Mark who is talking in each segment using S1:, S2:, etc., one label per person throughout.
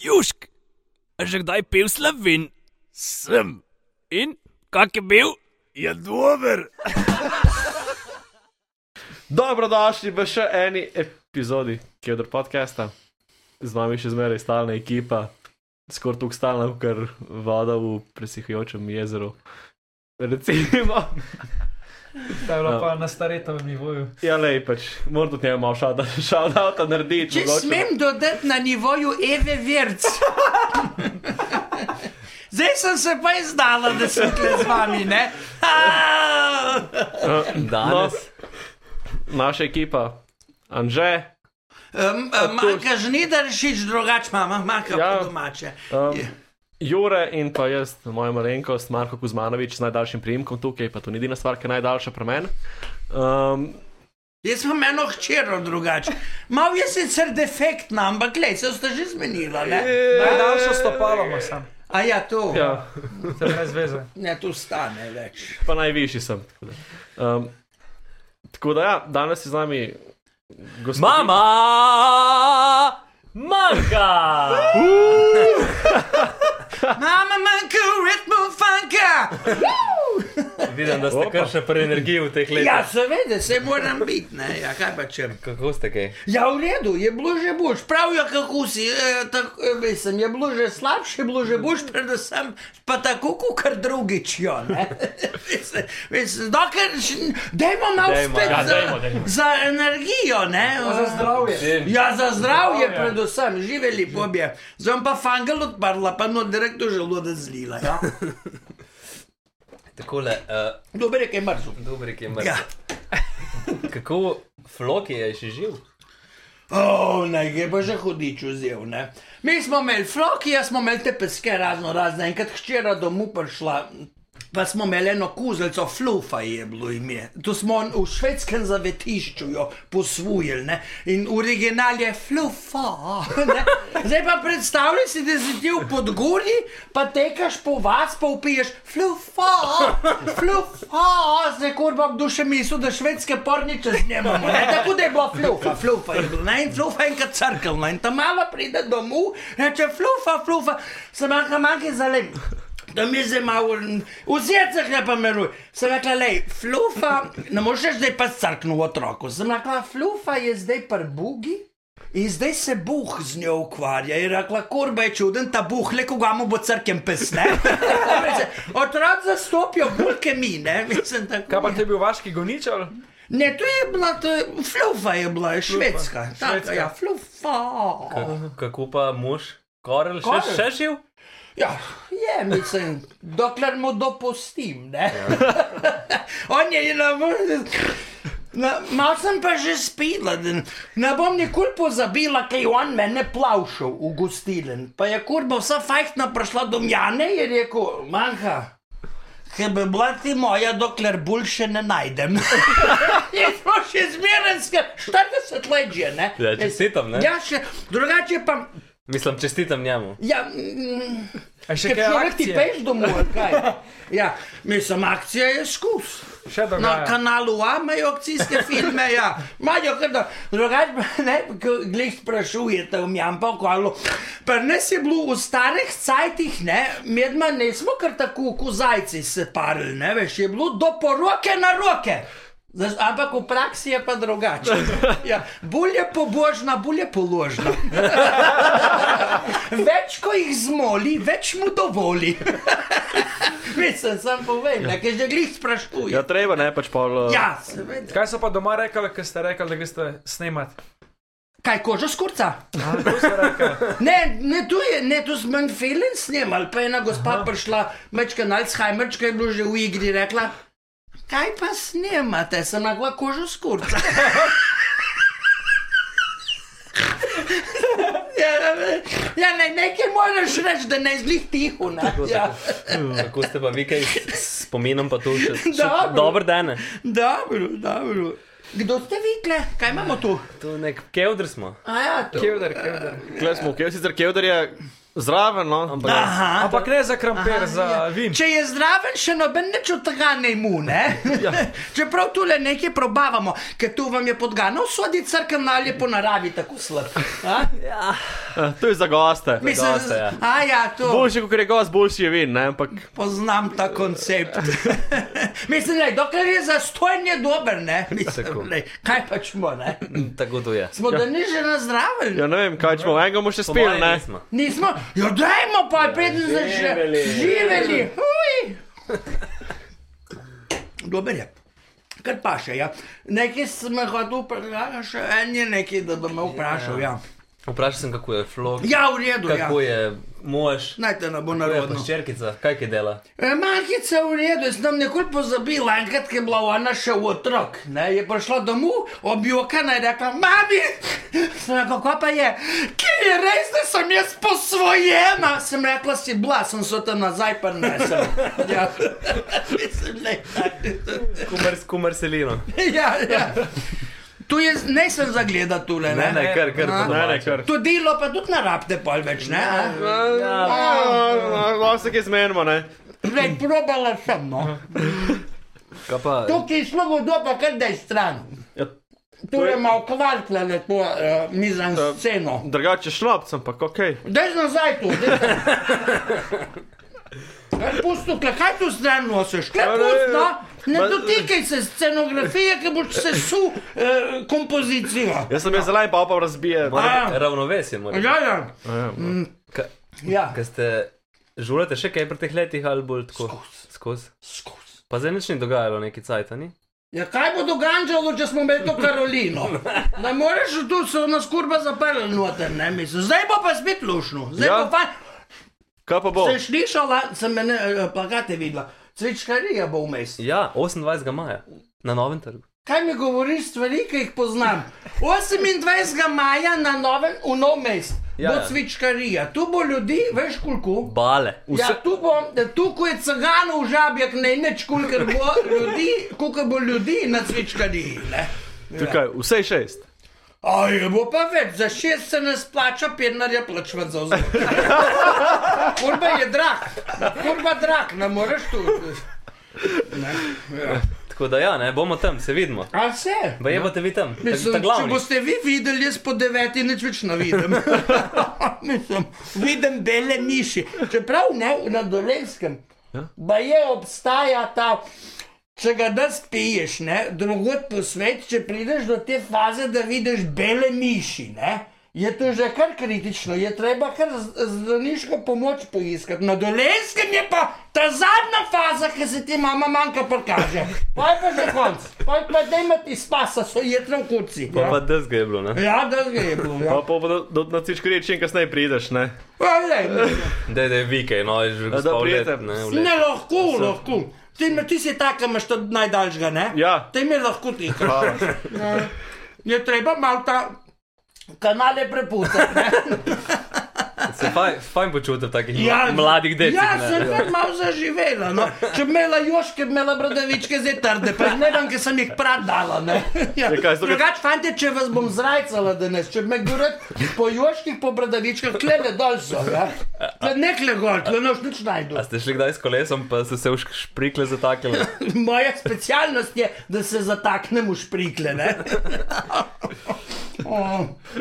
S1: Južk, a že kdaj pil slovin?
S2: Sem,
S1: In kak je bil?
S2: je dober.
S3: Dobrodošli v še eni epizodi Kedr podcasta. Z vami še zmeraj stalna ekipa, skoraj tako stalna, ker voda v presihajočem jezeru. Recimo,
S4: Ta je bila
S3: Ja.
S4: pa na staretovem nivoju.
S3: ja, lej, pač, moram tudi njemu malo šada, šada narediti.
S5: Če
S3: mogoče.
S5: smem dodati na nivoju Eve Virc. Zdaj sem se pa izdala, da sem tukaj z vami. ne? Ah!
S3: Danes. No, naša ekipa, Anže,
S5: Em, em, Manjka žnidaršič, drugače mama,
S3: Ja.
S5: manjka ja. po domače.
S3: um,
S5: Je.
S3: Jure in pa jaz, moja malenkost, Marko Kuzmanovič z najdaljšim prijimkom tukaj, pa to ni edina stvar, ki je najdaljša pri meni. Um,
S5: Jaz imam eno hčero drugače. Mal je sicer defektna, ampak le, se ste že zmenila. Ne?
S4: Najdaljšo stopalo ima sam,
S5: A ja, to, E. ja.
S3: ja.
S4: se brez veze.
S5: ne, to stane več.
S3: pa najvišji sem. Tako da, um, tako da ja, danes je z nami gospod.
S1: Mama! Manka!
S5: Mama, manjka ritmo funka.
S6: Vidim, da ste kar še pri energiji v teh
S5: Ja,
S6: letih.
S5: seveda, se moram biti, ne, ja, kaj pa če.
S6: Kako ste kaj?
S5: Ja, v redu, je bilo že boš, pravijo, kako si. E, tako, e, mislim, je bilo že slabše, je bilo že boš, predvsem pa tako, kot kar drugič. Jo, ne? Mislim, mislim, Dokler, še- dajmo malo
S6: Dajmo,
S5: spet
S6: ja,
S5: za,
S6: dajmo, dajmo.
S5: za energijo. Ne?
S4: Za zdravje.
S5: Ja, za zdravje, predvsem, živeli pobje. Zdaj bom pa fangel odprla, pa no, direktno želodec zlila. Ja?
S6: Takole, uh,
S5: Dober je, kaj mrzlo.
S6: dobri, ki je
S5: Ja.
S6: mrtev. Kako floki je še živ?
S5: Oh, ne, je pa že hudič vzel. Ne? Mi smo imeli floki, jaz smo imeli te peske razno razne. Enkrat hčera domov prišla, pa smo imeli eno kuzlico, flufa je bilo ime. To smo v švedskem zavetišču jo posvojili ne? in original je flufa. ne. Zdaj pa predstavljaj si, da si ti v podgori, pa tekaš po vas, pa upiješ flufa, flufa, zdaj kurba kdo še misli, da švedske porniče snemamo. Ne? Tako da je bilo flufa, flufa je bilo, ne, in flufa je enkrat crkl, ne, in ta mala pride domov, reče flufa, flufa, se manjka manjka zalem. Da mi zdaj malo n- v srcih ne pomeruje. Sem rekla, le, flufa, ne moreš zdaj pa crknu otroku. Sem rekla, flufa je zdaj prbugi. In zdaj se Bog z njo ukvarja in rekla, korba je čuden ta Bog, le koga mu bo crkven pes. ne?" Reče, Otroci zastopijo bulke mi, ne, mislim tako.
S4: Kaj pa ti je bil vaški goničar?
S5: Ne, to je bila, to je, flufa je bila, švedska. Taka,
S4: švedska.
S5: ja, flufa.
S6: Kako pa mož? Korel še,
S5: Karel?
S6: še živ?
S5: Ja, je, mislim, dokler mu dopustim. Ja. On je na vrhu. Mal sem pa že spila, da ne bom nikoli pozabila, kaj je on mene plavšal v gostilen. Pa je kurba vsa fajtna prišla do Mjane in je rekel, manjka. Ker bi bila ti moja, dokler bolj še ne najdem. je to še zmeren, skrb, 40 let že, ne?
S6: Ja, čestitam, ne?
S5: Ja, še, drugače pa,
S6: Mislim, čestitam njemu.
S5: ja, mm,
S4: A še
S5: Če
S4: kaj
S5: človek ti
S4: akcije?
S5: peš domov, ali kaj. Ja, mislim, akcija je skus.
S4: Še
S5: Na
S4: dogaja.
S5: kanalu A imajo akcijske filme, ja. Imajo kar da, drugače pa ne, glej sprašujete v mjem pa okvalu. Pri nas je bilo v starih cajtih, ne, medma ne smo kar tako kot zajci se parili, ne veš, je bilo do poroke na roke. Znaš, ampak v praksi je pa drugače. Ja, bolj je pobožna, bolj je položna. Več ko jih zmoli, več mu dovoli. Mislim, sem povedal, ker že glih sprašuje.
S3: Ja, treba ne pač pol.
S5: Ja, seveda.
S4: Kaj so pa doma rekali, ko ste rekli, da greste snemati?
S5: Kaj kožo skurca?
S4: A, to so rekli.
S5: Ne, ne, tu je, ne, tu smo en film snemali, pa je ena gospa Aha. prišla, mečka Alzheimer, ki je bilo že v igri, rekla. Kaj pa snemate, sem nagla kožo skurca. Ja, ja ne, nekaj moraš reči, da ne zlih tiho. Ne? Ja.
S6: Kako Hm, ste pa vi kaj s spominom pa to še? še
S5: Dobro.
S6: Dober dan.
S5: Dobro, dobro. Kdo ste vi, kle? kaj imamo tu?
S6: To je nek kevdr smo.
S5: A ja, to.
S4: Kevder, kevder.
S3: Kle smo, kje sicer Kevder je Zraven, no. Ampak
S5: Aha.
S4: Ampak ne za kramper,
S5: Aha,
S4: za
S5: ja.
S4: vin.
S5: Če je zdraven, še noben nič od tega ne mu, ne? Ja. Čeprav tu le nekaj probavamo, ker tu vam je podgano sodi crkven ali je po naravi tako slab. A?
S3: eh, to je za goste.
S5: Mislim,
S6: gosta, ja.
S5: a ja, to
S3: Boljši, kot je gost, boljši je vin, ne? ampak
S5: poznam ta koncept. Mislim, da dokler je zastojen, je dober, ne?
S6: Tako.
S5: Mislim, lej, kaj pač smo, ne?
S6: Tako to je.
S5: Smo ja. da ni že nazdraven.
S3: ja, ne vem, kaj če bomo. Enega bomo še
S6: Po
S3: spili,
S6: moje
S3: ne?
S6: nismo.
S5: Nismo, jo dajmo pa, ja, preden začnemo.
S6: živeli.
S5: Živeli, huj. Dober je. Kar pa še, ja. Nekaj sem hodil, predlagam še en je nekaj, da bi me vprašal, ja.
S6: Vprašal sem, kako je flog,
S5: Ja, v redu, ja.
S6: kako je mož,
S5: Naj te ne bo
S6: kako je pa
S5: narodno.
S6: ščerkica, kaj je dela.
S5: E, Markica v redu, jaz sem nikoli pozabila, enkrat, ko je bila ona še v otrok, ne, je prišla domov, objokana je rekla, mami, sem rekla, kako pa je, ki je res, da sem jaz posvojena, sem rekla, si bila, sem se tam nazaj prinesla. Ja, mislim, ne,
S6: Kumar, kumar selino.
S5: ja, ja. Tu je, ne sem zagledala tule,
S6: Ne, ne, kar, kar.
S3: Ne,
S5: A?
S6: po
S3: ne,
S6: domače.
S3: kar.
S5: To delo pa tudi ne rabite pol več, ne? a?
S3: Lahko se kaj zmenimo, ne?
S5: Glej, probala sem, no.
S6: Kaj pa,
S5: Tukaj smo vodo, pa kar da je stran.
S3: Ja,
S5: Tu je malo kvartljeno to uh, mizan sceno.
S3: Drugače šlopcem, ampak ok.
S5: Daj nazaj tu, daj. Ej, Pusto, kaj- kaj tu stran nosiš? Kaj
S3: Ja, ne,
S5: pusto? Ne
S3: ma-
S5: dotikaj se scenografije, ki boš sesul eh, kompozicijo.
S3: Jaz sem jaz zelo in pa pa razbije.
S5: A.
S6: ravnovesje mora.
S5: Ja, ja.
S3: Ja,
S6: Ka-
S5: ja.
S6: Kaj ste, žulete še kaj pri teh letih ali bolj tako? Skozi.
S5: Skus.
S6: Pa zdaj nič ni dogajalo, neki cajt, a ni?
S5: Ja, kaj bo događalo, če smo imeli to Karolino? Ne moreš tu se nas kurba zaprli noter, ne mislim. Zdaj bo pa spet lušno, zdaj
S3: Ja.
S5: ja. bo pa.
S3: Kaj pa bo?
S5: Ste slišala, sem mene eh, plakate videla. Cvičkarija bo vmes.
S6: Ja, 28. maja. Na novem trgu.
S5: Kaj mi govoriš stvari, ki jih poznam? 28. maja na novem, v nov mest, ja,
S6: Ja, ja.
S5: bo cvičkarija. Tu bo ljudi, veš koliko?
S6: Bale.
S5: Vse... Ja, tu, bo, tu ko je caganov žabjak, ne nič, koliko bo ljudi, koliko bo ljudi na cvičkariji. Ne?
S3: Tukaj, vse je šest.
S5: Aj, bo pa več, za šest se ne splača, penarja plačati za vse. Kurba je drag, kurba drag, ne moreš tu. Ne? Ja.
S6: Tako da ja, ne, bomo tam, se vidimo.
S5: A se?
S6: Pa je pa te vi tam, ta, ta
S5: Mislim, če
S6: glavni.
S5: boste vi videli, jaz po deveti nič več ne vidim. Mislim, vidim bele miši. Čeprav ne na dolenskem, pa je obstaja ta. Če ga danes piješ, ne, drugod po svetu, če prideš do te faze, da vidiš bele miši, ne, je to že kar kritično, je treba kar z- zdravniško pomoč poiskati. Na dolenskem je pa ta zadnja faza, ki se ti mama manjka prikaže. Poj pa že konc, poj pa da imaš iz pasa, so jedra v kurci.
S6: Pa pa desga je bilo, ne?
S5: Ja, da ga je bilo.
S3: Pa
S5: Ja.
S3: pa do, do, na cičko reči, čim kasneje prideš, ne?
S5: Pa, lej,
S6: Dej, dej, vikaj, no, je že
S3: da
S6: gospa v
S3: prijete.
S6: let, ne, v
S5: ja. ne
S6: let.
S5: lahko, lahko. Ti, ima- ti si taka, imaš to najdaljšega, ne?
S3: Ja.
S5: Te mi lahko ti kažeš. Je treba malo ta kanale prepustiti. ne.
S6: Se fajn, fajn počutim v takih
S5: Ja,
S6: ja, mladih detih,
S5: Ja,
S6: ne.
S5: sem kar malo zaživela. No. Če bi imela joške, bi imela bradavičke zdaj trde, pa jih ne vem, ker sem jih pradala. ne.
S3: Ja,
S5: Ja.
S3: kaj, zato, ker-
S5: Drugač, fanti, če vas bom zrajcala danes, če bi me gorat po joških, po bradavičkah, klede dol so. Ja. Tle Ne kle gor, tle noč nič najdu.
S6: A ste šli kdaj s kolesom, pa ste se v šk- šprikle zataknili?
S5: Moja specialnost je, da se zataknem v šprikle. ne. O,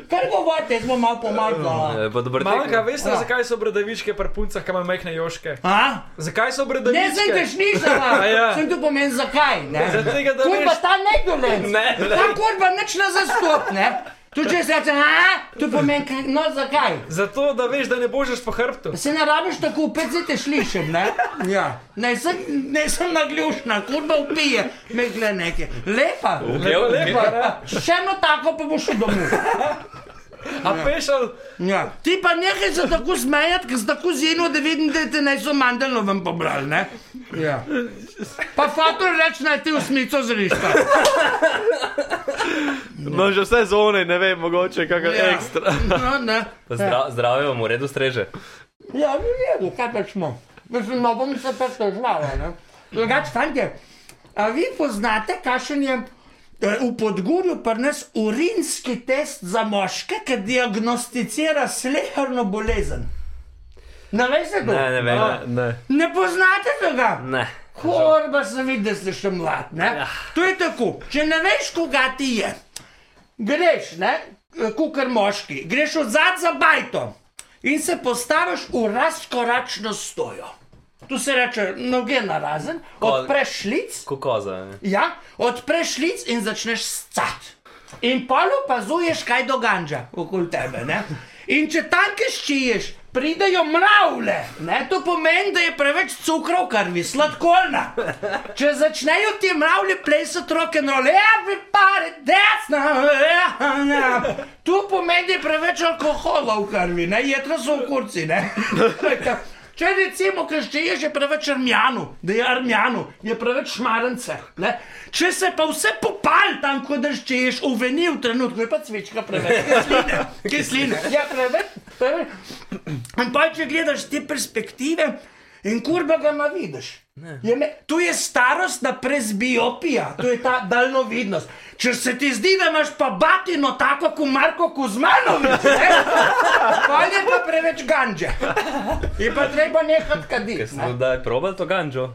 S5: Kar govorite, jaz bom malo pomagal.
S6: E, Pa dobro,
S4: Manjka,
S6: tekmo.
S4: veste,
S5: Ja.
S4: zakaj so bradavičke pri puncah, ki imajo majhne joške?
S5: A?
S4: Zakaj so
S5: Ne, zdaj
S4: bradavičke?
S5: greš nisem,
S4: Ja.
S5: sem tu pomen zakaj. ne.
S4: Zaradi tega, da
S5: Kurba
S4: veš-
S5: ta nedolenc.
S6: Ne, ne.
S5: Ta kurba nič ne zastop, ne. Tu če se reče, a, tu pomeni, kaj- no zakaj.
S4: Zato, da veš, da ne božeš po hrbtu.
S5: Se ne rabiš tako upet, zdaj te slišim, ne? Ja. Ne, sem, ne sem nagljušna, kurba upije, me gleda nekaj. Lepa.
S4: Lepa, lepa, ne?
S5: Še eno tako pa boš šel domov.
S4: A pešal,
S5: Ja. Ti pa nekaj se tako smejati, ker si tako zjeno, da vidim, da te naj so mandelno vam pobrali, ne? Ja. Pa faktor reč naj ti usmico zrišta.
S3: No, že vse zone, ne vem, mogoče kakšen
S5: Ja.
S3: ekstra.
S5: No, ne.
S6: Zdra, zdravje vam v redu streže.
S5: Ja, v redu, kaj pač smo. Mislim, no bom se pač težvala, ne. Drugač, fantje, a vi poznate, kakšen je eh, v podgorju pri nas urinski test za moške, ki diagnosticira sleherno bolezen? Ne veste to?
S6: Ne, ne vem.
S3: Ne, ne.
S5: Ne poznate tega?
S6: Ne.
S5: Horba se vidi, da si še mlad. Ja. To je tako, če ne veš, koga ti je. Greš, ne, kukar moški, greš od zadaj za bajto in se postaviš v razkoračno stojo. Tu se reče, noge narazen, odpreš šlic,
S6: Ko koza. ne.
S5: ja, odpreš šlic in začneš scat. In pol opazuješ, kaj događa okoli tebe. Ne? In če tanke ščiješ, pridejo mravlje. Ne? To pomeni, da je preveč cukrov, kar vi sladkorna. Če začnejo ti mravlje plesati roke, role, everybody, desna, ja, to pomeni, da je preveč alkohola v krvi, ne? jedro so v kurci. ne. Če recimo krščiješ, je preveč armijanu, da je armijanu, je preveč šmarence. Ne? Če se pa vse popal tam, ko drščiješ, uveni v trenutku, je pa cvečka preveč, kisline, kisline. Ja, preveč, preveč. In pa če gledaš te perspektive, in kurba ga ne vidiš. Je Me, tu je starostna presbiopija, tu je ta daljnovidnost. Če se ti zdi, da imaš pa batino tako kot Marko Kuzmanovič, pa je pa preveč ganđe. Je pa treba nehati kaditi.
S6: Ker
S5: ne.
S6: sem zdaj probal to ganjo.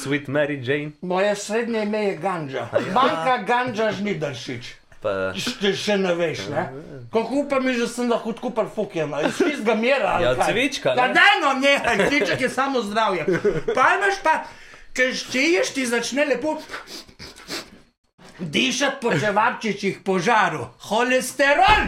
S6: Sweet Mary Jane.
S5: Moje srednje ime je Ganža. Banka Ganža Žnidaršič.
S6: Pa,
S5: Šte Pač še ne veš, ne? Kako upam, že sem lahko kupil fukijan, iz tistega mera. ali
S6: Ja,
S5: kaj?
S6: cvička, ne?
S5: Ja, da, no, ne, cviček je samo zdravje. Pa imaš pa, ker šteješ, ti začne lepo dišati po čevapčičih požaru. Holesterol!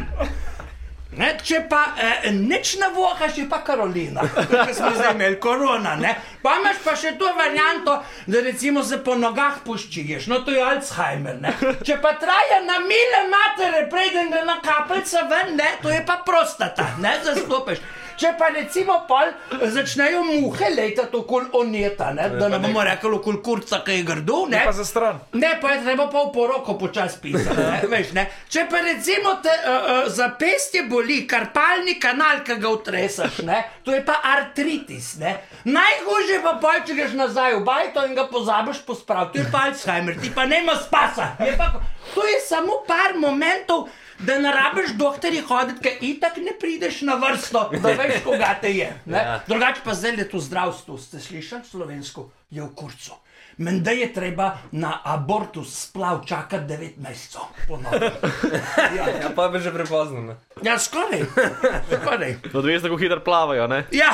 S5: Ne, če pa eh, nič ne vohaš, je pa Karolina, ki smo zdaj imeli korona. Ne? Pa imaš pa še to varianto, da recimo se po nogah puščiješ, no to je Alzheimer. Ne? Če pa traja na mile matere, preden ga na kapljica ven, ne, to je pa prostata, ne zastopiš. Če pa recimo pol eh, začnejo muhe letati okoli oneta, ne? da ne bomo rekli okoli kurca, ki je grdo, ne.
S4: Pa za stran.
S5: Ne, pa je treba pa v poroko počasi pisati. ne, veš, ne. Če pa recimo te uh, uh, zapestje boli, karpalni kanal, ki ga utresaš, ne, to je pa artritis. Ne. Najhujše pa pa, če greš nazaj v bajto in ga pozabiš pospraviti, to je pa Alzheimer, ti pa ne imaš spasa. Je Pa, to je samo par momentov. Da ne rabiš doktorji hoditi, ker itak ne prideš na vrsto, da veš, koga te je. Ja. Drugače pa zdaj je to zdravstvo, ste slišali slovensko, je v kurcu. Menda je treba na abortus splav čakati 9 mesecev. po novem.
S6: ja, pa bi že prepozno. ne.
S5: Ja, skoraj. skoraj.
S3: No, veš, kako hitro plavajo, ne?
S5: Ja,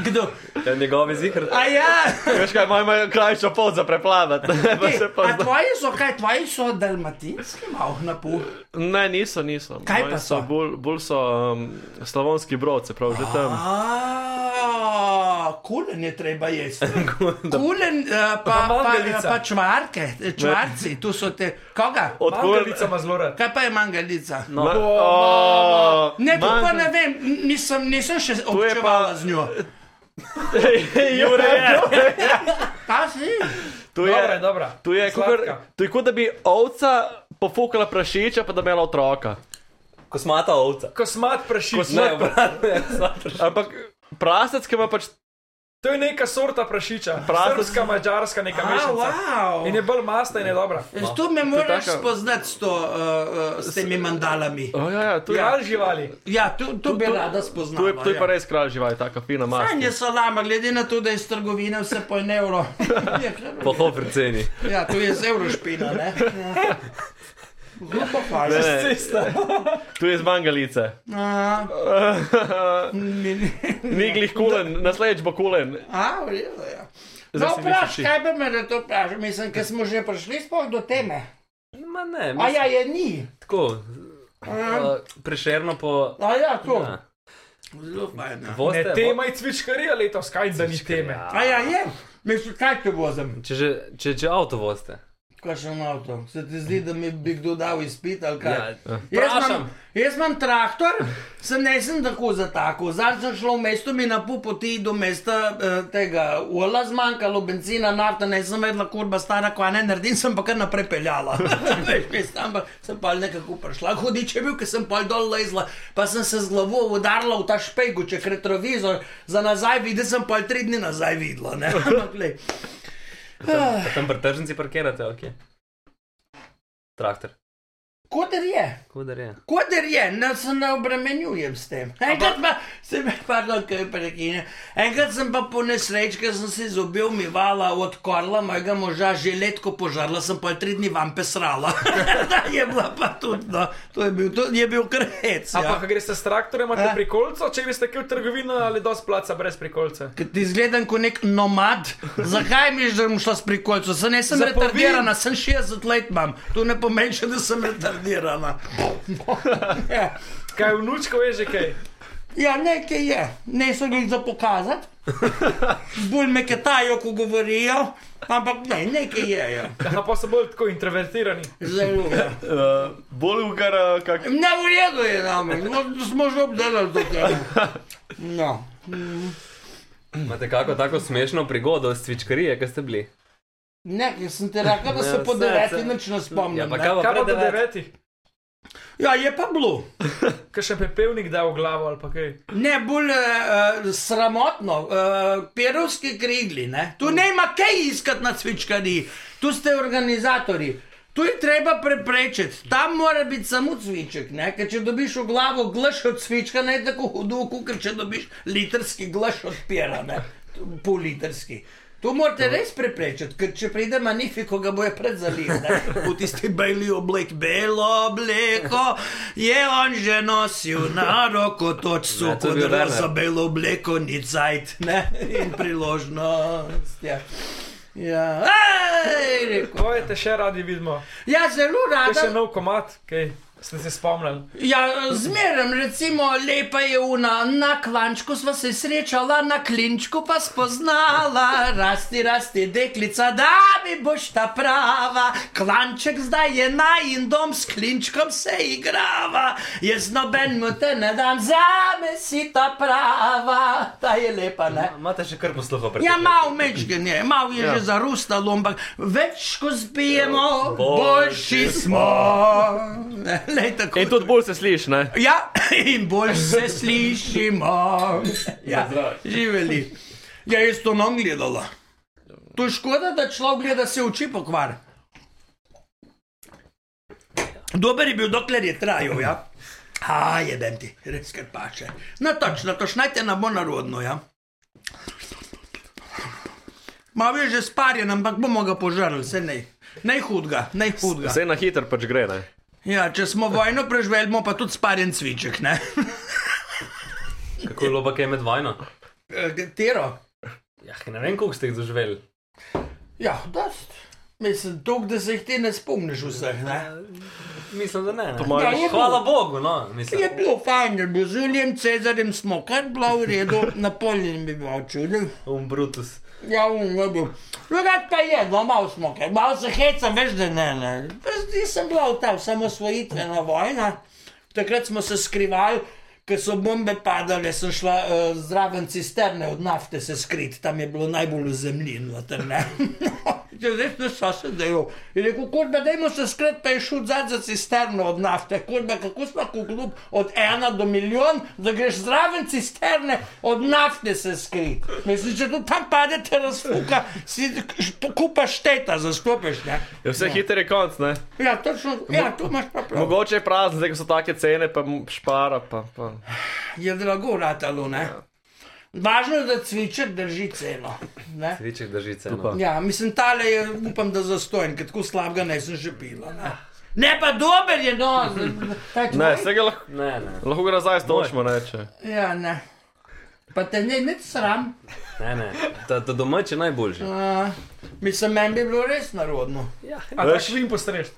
S5: kdo?
S6: Ja, njegovi zikr.
S5: A ja,
S3: Veš kaj, imajo imajo krajšo pot za preplavati. Pa
S5: Ej,
S3: se pa
S5: a
S3: zna-
S5: tvoji so kaj, tvoji so dalmatinski, malo na pol.
S3: Ne, niso, niso.
S5: Kaj
S3: Moji
S5: pa so?
S3: Bolj bol so um, slavonski brod, se pravi, že tam.
S5: A, Kulen je treba jesti. Kulen, eh, pa, pa, pa,
S4: mangalica.
S5: pa čvarke, eh, čvarci, tu so te. Koga?
S3: Od
S4: Mangalica ima zelo rad.
S5: Kaj pa je mangalica?
S3: No.
S5: Ne, to pa ne vem, n- nisem, nisem še
S3: je pa-
S5: občevala z njo.
S3: Jure,
S5: Pa si?
S3: tu
S4: Dobra,
S3: je,
S4: je, dobra.
S3: tu je, kakor,
S4: Sladka.
S3: tu je kot da bi ovca pofukala prašiča, pa da bi imela otroka.
S6: Kosmata ovca.
S4: Kosmat prašič.
S6: Ne, obratno je. sladka.
S3: Ampak prasec, ki ima pač
S4: To je neka sorta prašiča.
S3: Prav-
S4: Srpska, mačarska, neka
S5: A,
S4: mešanica.
S5: wow.
S4: In je bolj masna in je dobra.
S5: No. Tu me moraš
S3: taka-
S5: spoznati s, to, uh, uh, s temi mandalami.
S3: Oh, ja, ja, tu, je,
S4: Piral živali.
S5: Ja, tu, tu bi rada spoznala.
S3: tu, je, tu je pa
S5: ja.
S3: res kralj žival, taka fina masa.
S5: Stanje salama, glede na to, da je iz trgovine vse po en evro. Je
S6: Po
S5: kar-
S6: hopri ceni.
S5: ja, tu je z evro špina, ne? Ja. Zelo pohvalno.
S3: Tu je zmangalice.
S5: A, mi ni-
S3: Ni glih kulen, naslednjič bo kulen.
S5: A, v redu, ja.
S3: Zdaj
S5: No,
S3: si
S5: vpraš,
S3: misliš ti.
S5: kaj bi me na to vprašal? Mislim, ker smo že prišli sploh do teme.
S6: Ma ne,
S5: A
S6: mislim,
S5: ja, je ni.
S6: tako. Uh, prešerno po.
S5: A ja, to.
S6: Ja.
S5: Zelo fajn. ja.
S6: Voste,
S4: Ne, tema je cvičkarija letos, kaj za ni teme.
S5: A ja, je. Mislim, kaj te vozim?
S6: Če, že, če, če avto voste.
S5: Kakšen avto? Se ti zdi, da mi bi kdo dal izpit ali kaj?
S6: Ja,
S5: jaz,
S6: vprašam.
S5: imam, jaz imam traktor, sem nisem tako za tako. Zdaj sem šel v mesto, mi na pol poti do mesta eh, tega ula zmanjkalo, benzina, nafta, nisem vedela, kurba stara, kva ne naredim, sem pa kar naprej peljala. Veš, mislim, ampak sem pa nekako prišla, hudič je bil, ker sem pa dol lezla, pa sem se z glavo udarila v ta špegu, če retrovizor za nazaj videl, sem pa tri dni nazaj videla. ne. Ampak, glej.
S6: Tam pri tržnici parkirate, ok. Traktor.
S5: Koder je.
S6: Kudar je.
S5: Koder je, ne, se ne obremenjujem s tem. Enkrat pa, se me, pardon, kaj prekine. Enkrat sem pa po nesreči, ker sem si zobe umivala od korla mojega moža, že letko požarla, sem pa tri dni vam pesrala. Ta je bila pa tudi, no, to je bil, to je bil
S4: Ja.
S5: krhec. Ja.
S4: Ampak, ko greš s traktorjem, imaš
S5: Eh.
S4: prikolico, če greš tako v trgovino ali dosti placa brez prikolice.
S5: Ker ti izgledam kot nek nomad, zakaj mi že bom šla s prikolcem? Sem nisem
S4: Zapovim.
S5: retardirana, sem 60 let imam, to ne pomeni, še, da sem retardirana. ja.
S4: Kaj vnučko je že kaj?
S5: Ja, nekaj je, ne so jih za pokazati, bolj me ketajo, ko govorijo, ampak ne, nekaj je. Ja.
S4: Aha, pa so bolj tako introvertirani.
S5: Zelo. Ja.
S3: Uh, bolj ukara, kak
S5: Ne, v redu je nam, smo že obdelali to temo. No.
S6: Imate kako tako smešno prigodo s cvičkarije, ki ste bili?
S5: Ne, ker sem ti rekel, da
S6: Ja,
S5: se
S6: vse,
S5: po deveti
S6: vse.
S5: nič ne
S6: Ja,
S5: spomnim.
S6: pa
S5: ne.
S6: kaj pa
S4: Kaj pa
S6: pred
S4: do
S6: devet?
S4: devetih?
S5: Ja, je pa bilo.
S4: Kaj še pepevnik da v glavo ali pa kaj?
S5: Ne, bolj uh, sramotno, uh, perovski krigli. Ne? Tu ne ima kaj iskati na cvičkari, tu ste organizatori. Tu je treba preprečiti, tam mora biti samo cviček. ne, Ker če dobiš v glavo glaš od cvička, ne je tako hudo, kot če dobiš litrski glaš od pera, ne, pol litrski. To morate res preprečiti, ker če pride manifiko, ga boje pred zalivom. V tisti beli oblek, belo obleko je on že nosil na roko točcu,
S6: Ja, to je
S5: kot
S6: bil
S5: da
S6: Werner.
S5: za belo obleko ni cajt ne? in priložnost. Ja. Ja, Ej, rekel.
S4: Koje te še radi vidimo?
S5: ja, zelo
S4: Kaj še
S5: rada.
S4: nov komat, kaj ste se spomnili?
S5: Ja, zmeraj, recimo, lepa je una, na klančku sva se srečala, na klinčku pa spoznala, rasti, rasti deklica, da mi boš ta prava. Klanček zdaj je najin dom, s klinčkom se igrava, jaz noben mu te ne dam, za me si ta prava, ta je lepa, ne.
S6: Imate še kar posluha pred
S5: Ja, malo mečken je, malo je ja. že zarustalo, ampak več ko spijemo, boljši E, smo. Ne, Lej, tako
S3: In tudi bolj se slišiš, ne?
S5: Ja, in bolj se slišimo. Ja, živeli. Ja, jaz to nam gledala. To je škoda, da človek gleda se oči pokvar. Dober je bil, dokler je trajal, ja. A, jedem ti, res kar paše. Na točno, to šnajte nam bo narodno, ja. Malo je že sparjen, ampak bomo ga požrli, vse ne. Najhudga, najhudga.
S3: Vse na hitro pač gre, ne?
S5: Ja, če smo vojno preživeli, bomo pa tudi sparjen cviček, ne?
S6: Kako je loba, kaj je med vojno?
S5: Eh, Tero.
S6: Ja, ne vem, koliko ste jih doživeli.
S5: Ja, dost. Mislim, dolg, da se jih ti ne spomniš vseh. Ne?
S6: Mislim, da ne. ne.
S3: moje-
S5: Ja, je
S6: Hvala Bogu, no. Mislim.
S5: Je bilo fajn, je bilo z Julijem Cezarjem smo kar bila v redu, napolnjen bi bil čuden.
S6: Um Brutus.
S5: Ja, um, je bil. Drugat pa je, no malo smo kar, malo se hecam, veš, da ne, ne. Jaz nisem bila v ta samosvojitvena vojna, takrat smo se skrivali. Ker so bombe padale, sem šla uh, zraven cisterne od nafte se skrit, tam je bilo najbolj zemljino. Če zdaj smo sosedeli, je rekel, kurba, dajmo se skrit, pa je šel zad za cisterno od nafte. Kurba, kako smo kot klub od ena do milijon, da greš zraven cisterne od nafte se skrit. Mislim, če tu tam padete razfuka, si kupaš teta, zastopiš. Ne?
S3: Je Ja, vse hitro je konc, ne?
S5: Ja, točno, ja, tu imaš pa prav.
S3: Mogoče je prazen, zdaj ko so take cene, pa m- špara, pa... pa.
S5: je drago ratalo. Ne? Važno je, da cviček drži ceno. ne.
S6: Riček drži
S3: pa.
S6: ceno.
S5: Ja, mislim, tale je, upam, da zastojen, ker tako slabega ne sem že pila. Ne, ne pa dober je, no, ta tvoj-
S3: Ne, vse ga lahko,
S6: Ne, ne,
S3: lahko ga nazaj stočimo, ne? Če.
S5: Ja, ne. Pa te ne, nič sram.
S6: ne. ne. Ta, ta domač je najboljši.
S5: Uh, mislim, meni bi bilo res narodno.
S4: A da še jim postreš.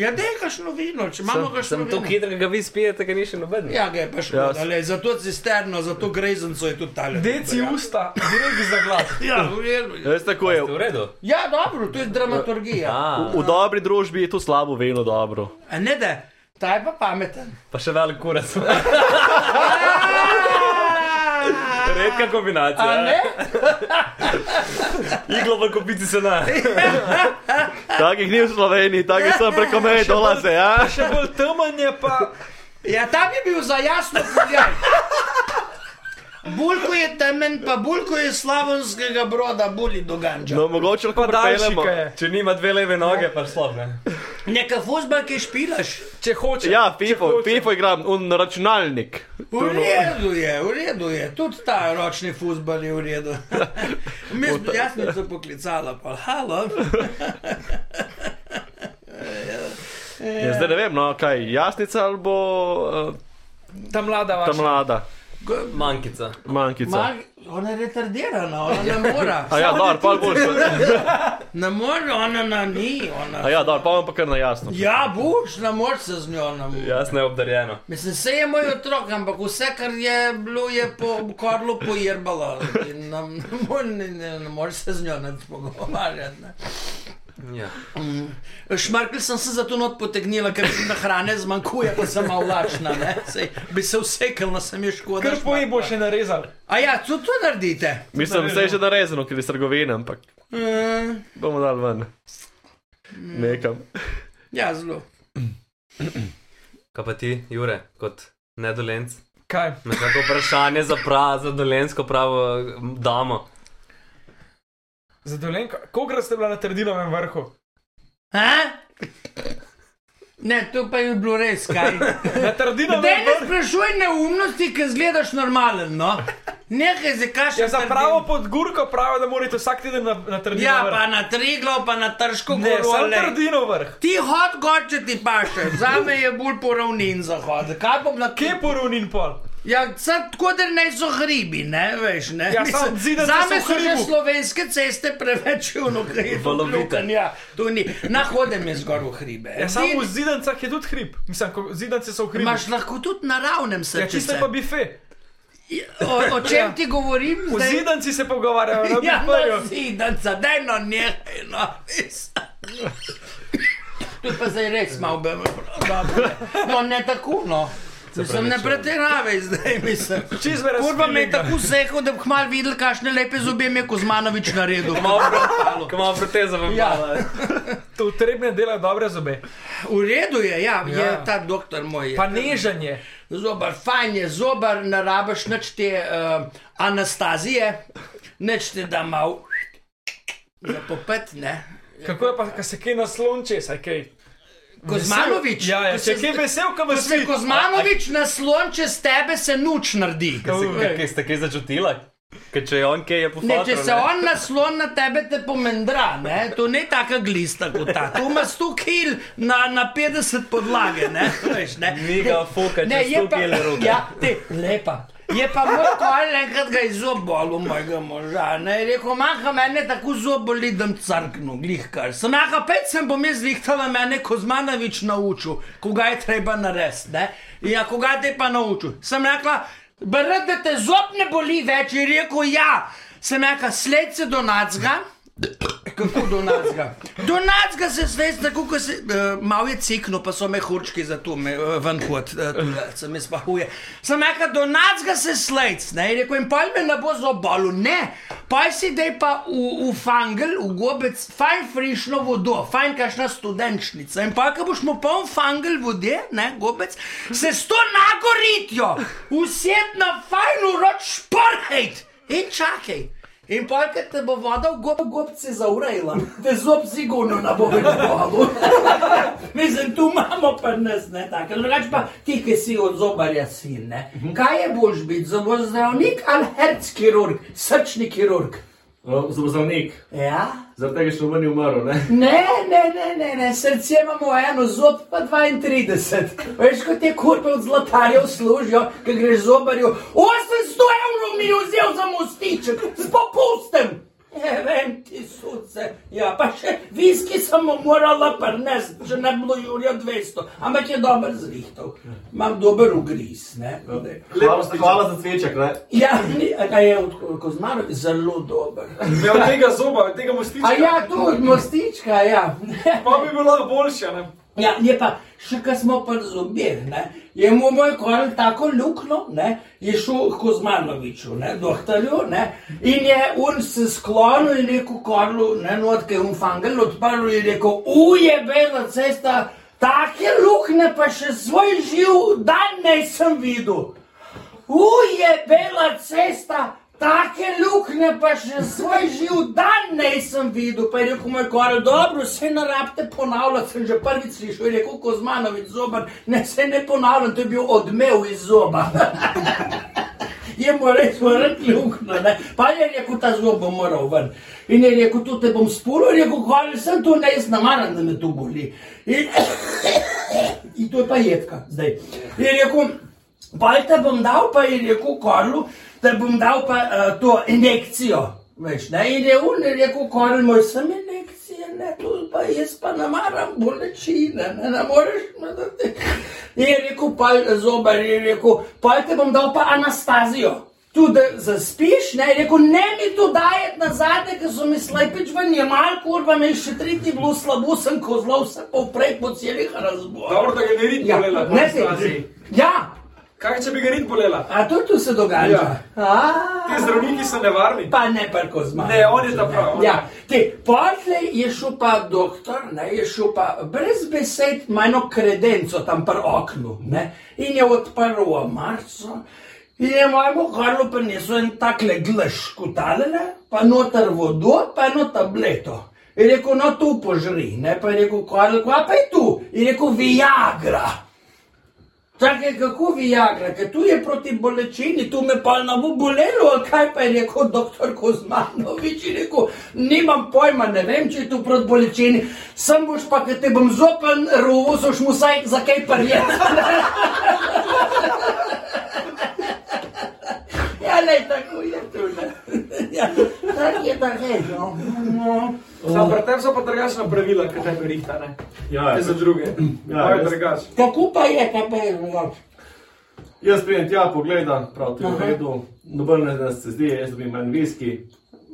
S5: Ja, da je kašno vino, če imamo kašno
S6: Sem
S5: vino.
S6: to hitro, ki ga vi spijete, ki ni še noben.
S5: Ja, ga je pa
S3: Ja,
S5: škoda,
S3: s-
S5: ja, zato cisterno, zato grezenco je tudi tale.
S4: Deci usta, direkt za glas.
S5: Ja, v redu.
S3: Veš tako je.
S6: V redu.
S5: ja, dobro, to je dramaturgija.
S6: A,
S3: V dobri družbi je tu slabo vino dobro.
S5: A ne da, ta je pa pameten.
S6: pa še velik kurac.
S5: A
S6: Redka
S3: Ja.
S6: kombinacija.
S5: ne?
S6: Iglo v kopici se
S5: Ja.
S6: ne.
S3: Takih ni v Sloveniji, takih sem preko meje dolaze, ja?
S4: Še bolj temen je pa,
S5: Ja, tam je bil za jasno pogled. Bulko je temen, pa bulko je slavonskega broda, buli doganča. No.
S3: No, mogoče lahko
S4: pa daljši,
S3: pripeljemo.
S4: kaj je.
S6: Če nima dve leve noge, pa slab ne.
S5: Neka fuzbal, ki špilaš.
S4: Če hoče.
S3: Ja,
S4: če
S3: pivo,
S4: hoče.
S3: pivo igram, un računalnik.
S5: V redu je, v redu je, tudi ta ročni fusbal je v redu. Mi smo jasnico poklicala, pa halo.
S3: Ja, zdaj ne vem, no, kaj, jasnica ali bo uh,
S4: Ta mlada
S3: ta
S4: vaša.
S3: mlada
S6: Mankica.
S3: mankica.
S5: Mag, ona je retardirana, ona ne more.
S3: A ja, dobro, pa boš.
S5: Ne more, ona na ni.
S3: A
S5: Ona.
S3: ja, dobro, pa vam pa kar na jasno.
S5: Ja, boš, ne moreš se z njo. ne moreš.
S6: Jasno je obdarjeno.
S5: Mislim, se je moj otrok, ampak vse, kar je bilo, je po korlu pojerbalo. In nam- Ne, more- ne, ne, ne moreš se z njo ne pogovarjati. Ne.
S6: Ja.
S5: Šmarkel sem se zato not potegnila, ker mi na hrane zmanjkuje, pa sem malo lačna. ne. Sej, bi se vsekal, no sem je škoda.
S4: Kar poji bo še narezal.
S5: A ja, co to naredite?
S3: Mislim, vse je
S5: no.
S3: že narezano, ker je trgovina, ampak
S5: Uh,
S3: bomo dal ven. Nekam.
S5: ja, zelo.
S6: Kaj pa ti, Jure, kot nedolenc?
S4: Kaj?
S6: Na kako vprašanje za, pra, za dolensko pravo m, damo.
S4: Zadolenka. Kolikrat ste bila na trdinovem vrhu?
S5: A? Ne, to pa je bilo res kaj.
S4: Na
S5: Daj
S4: trdinovem
S5: ne
S4: vrhu.
S5: sprašuj neumnosti, ki zgledaš normalen, no. Nekaj se kaš.
S4: Ja, za pravo podgurko pravijo, da morate vsak teden na, na trdino
S5: Ja,
S4: vrh.
S5: pa na triglo, pa na trško
S4: Ne, samo
S5: goro.
S4: trdino vrh.
S5: Ti hod gor, če ti paše, zame je bolj poravnin zahod. Kaj bom na
S4: Kje je porun in pol?
S5: Ja, sad, tako da ne so hribi, ne veš. Ne?
S4: Ja,
S5: Mislim,
S4: samo zidanice
S5: Zame
S4: so
S5: so
S4: v
S5: že
S4: hribu.
S5: slovenske ceste preveč
S6: Valovite.
S5: unukrivljanja. Ja, Na hodem je zgor v hribe.
S4: Ja, samo v
S5: Edini-
S4: zidancah je tudi hrib. Mislim, ko- zidance so v hribu.
S5: Imaš lahko tudi naravnem
S4: Ja, čisto
S5: srcu.
S4: je pa bife.
S5: O, o čem ti govorim?
S4: V
S5: zdaj?
S4: zidanci se pogovarjajo, na
S5: Ja,
S4: bifeju.
S5: no, zidanca, daj no, nehaj, no. mislim. To je pa zdaj res malo bemo. No, ne tako, no. Mislim, ne pretiravaj zdaj, mislim.
S4: Čisto brez
S5: Kurva me je
S4: feelinga.
S5: tako sekel, da bi hmal videl, kakšne lepe zobe mi je Kozmanovič naredil.
S6: Ko imamo protezo v
S5: Ja.
S6: mala.
S4: To utrebne dela dobre zobe.
S5: V redu je, ja, ja. je
S4: Ja.
S5: ta doktor moj. Je.
S4: Pa nežanje.
S5: Zobar, fajn je, zobar, ne rabiš nič te uh, anastazije, nič te da mal. Za popet, ne.
S4: Kako je pa, ko se kaj naslon česa, kaj?
S5: Kozmanovič,
S4: Ja, ja,
S5: ko
S4: če
S5: se-
S4: je kaj vesel, kam
S5: Ko se
S4: svet.
S5: Kozmanovič naslon čez tebe, se nuč naredi.
S6: Kaj ste kaj začutila? Ker če je on kaj, je
S5: Ne,
S6: pofotro,
S5: če se on naslon na tebe, te pomendra, ne? to ni taka glista kot ta. Tu ima 100 kil na, na 50 podlage. Ne? Veš, ne?
S6: Ni ga fuka, če
S5: je
S6: je
S5: pa,
S6: tukaj le roke.
S5: ja, te, lepa. Je pa moj kol enkrat ga izobolil, mojega moža. Ne, je rekel, manjka mene tako zoboli, da crknu, glihkar. Sem jaka pet, sem bom jaz zlihtala, mene Kozmanovič naučil, koga je treba narediti. ne. Ja, koga te pa naučil. Sem rekla, brd, da te zob ne boli več, je rekel, ja. Sem rekla, sled se do nacga. Kako do nacga? Do nacga se sveš, tako kot se uh, malo je cikno, pa so me hurčki za to, me, uh, ven hod, uh, sem jaz pa huje. Sem rekel, do nacga se slejc, ne, in rekel, in pol me ne bo zobalo, ne, pol si dej pa v, v fangel, v gobec, fajn frišno vodo, fajn kašna studenčnica. In pol, ko boš mu poln fangel vode, ne, gobec, se s to nagoritjo, uset na fajn uroč šporhejt in čakaj. In pa, ker te bo voda v gobo, gobce zaurejla, te zob sigurno ne bo veliko. Mislim, tu imamo pa nas, ne tako. Drugač pa ti, ki si od zobarja sin, ne. Kaj je boš biti, zobozdravnik ali herc kirurg, srčni kirurg?
S3: Zobozdravnik,
S5: Ja.
S3: zaradi tega še meni umrl, ne?
S5: Ne, ne, ne, ne, ne, srce imamo eno, zob pa 32. Veš, kot te kurpe od zlatarjev služijo, ki greš zobarju. 800 evrov mi je vzel za mostiček, s popustem. Ne vem, ti suce. Ja, pa še viski sem mu morala prnesti, že ne bi bilo Jurija 200, ampak je dober zrihtov. Imam dober ugriz, ne.
S3: Hvala, hvala za cveček, ne?
S5: Ja, ni- a je od Kozmaro zelo dober.
S4: Ja, od tega zoba, od tega
S5: A
S4: mostiča.
S5: ja, tu od mostička, ja.
S4: Pa bi bilo boljše, ne?
S5: Ja, je pa še kar smo pri zobeh, ne, je mu moj korel tako luknjo, ne, je šel k Kozmanoviču, ne, dohtarju, ne, in je on se sklonil in rekel korlu, ne, notke je umfangel, odprl in rekel, uje, bela cesta, take luknje pa še svoj živ dan nisem videl. Uje, bela cesta, take luknje ne pa še svoj živ dan nisem videl, pa je rekel moj korel, dobro, se ne rabite ponavljati, sem že prvič slišal, je rekel Kozmanovič zobar, ne se ne ponavljam, to je bil odmev iz zoba. je mu res vrnil luknjo, ne. pa je rekel, ta zob bo moral ven. In je rekel, tu te bom spulil, je rekel, korel, sem tu, ne, jaz namaram, da me tu boli. In, in to je pa jedka zdaj. In je rekel, Balta bom dal, pa je rekel Korlu, da bom dal pa uh, to injekcijo. Veš, ne, in je un, je rekel Korl, moj sem injekcije, ne, tu pa jaz pa namaram bolečine, ne, ne moreš me da ti. In je rekel, pa zobar, je rekel, pa te bom dal pa anastazijo. Tu da zaspiš, ne, je rekel, ne mi to dajeti nazaj, ker so mi slepič ven, je mal, kurva, me je še tretji bilo slabo, sem kozlov, sem povprek po celih razborih.
S4: Dobro, da ga ne vidim,
S5: Ja,
S4: bolela.
S5: ne se. Ja,
S4: Kaj če bi ga rit bolela?
S5: A to tu se dogaja?
S4: Ja.
S5: A,
S4: Ti zdravniki so nevarni.
S5: pa ne prko zmaga.
S4: Ne, on je ta prav.
S5: Ja, te potlej je šel pa doktor, ne, je šel pa brez besed, majno kredenco tam pri oknu, ne, in je odprl omarico. In je mojemu Karlu prinesel en takle glaš, kutalele, pa noter vodo, pa eno tableto. In je rekel, no tu požri, ne, pa je rekel, Karl, kva pa je tu? In je rekel, Viagra. Čakaj, kako vi jagra, ker tu je proti bolečini, tu me pa ne bo bolelo, ali kaj pa je rekel doktor Kozmanovič, je rekel, nimam pojma, ne vem, če je tu proti bolečini, sem boš pa, ker te bom zopen rovo, soš mu saj za kaj parjet. ja, le, tako je tu, ne. Ja, tako je, tako je, no. no.
S4: Sam pri tem so pa drugačna pravila, ki tebe rita, ne?
S7: Ja,
S4: Te za druge.
S7: Ja,
S4: Ja, je
S7: jaz-
S4: drugače.
S5: Kako pa je, kaj pa je, drugače?
S7: jaz pridem tja, pogledam, prav to je v redu, noben ne nas se zdi, jaz dobim manj viski.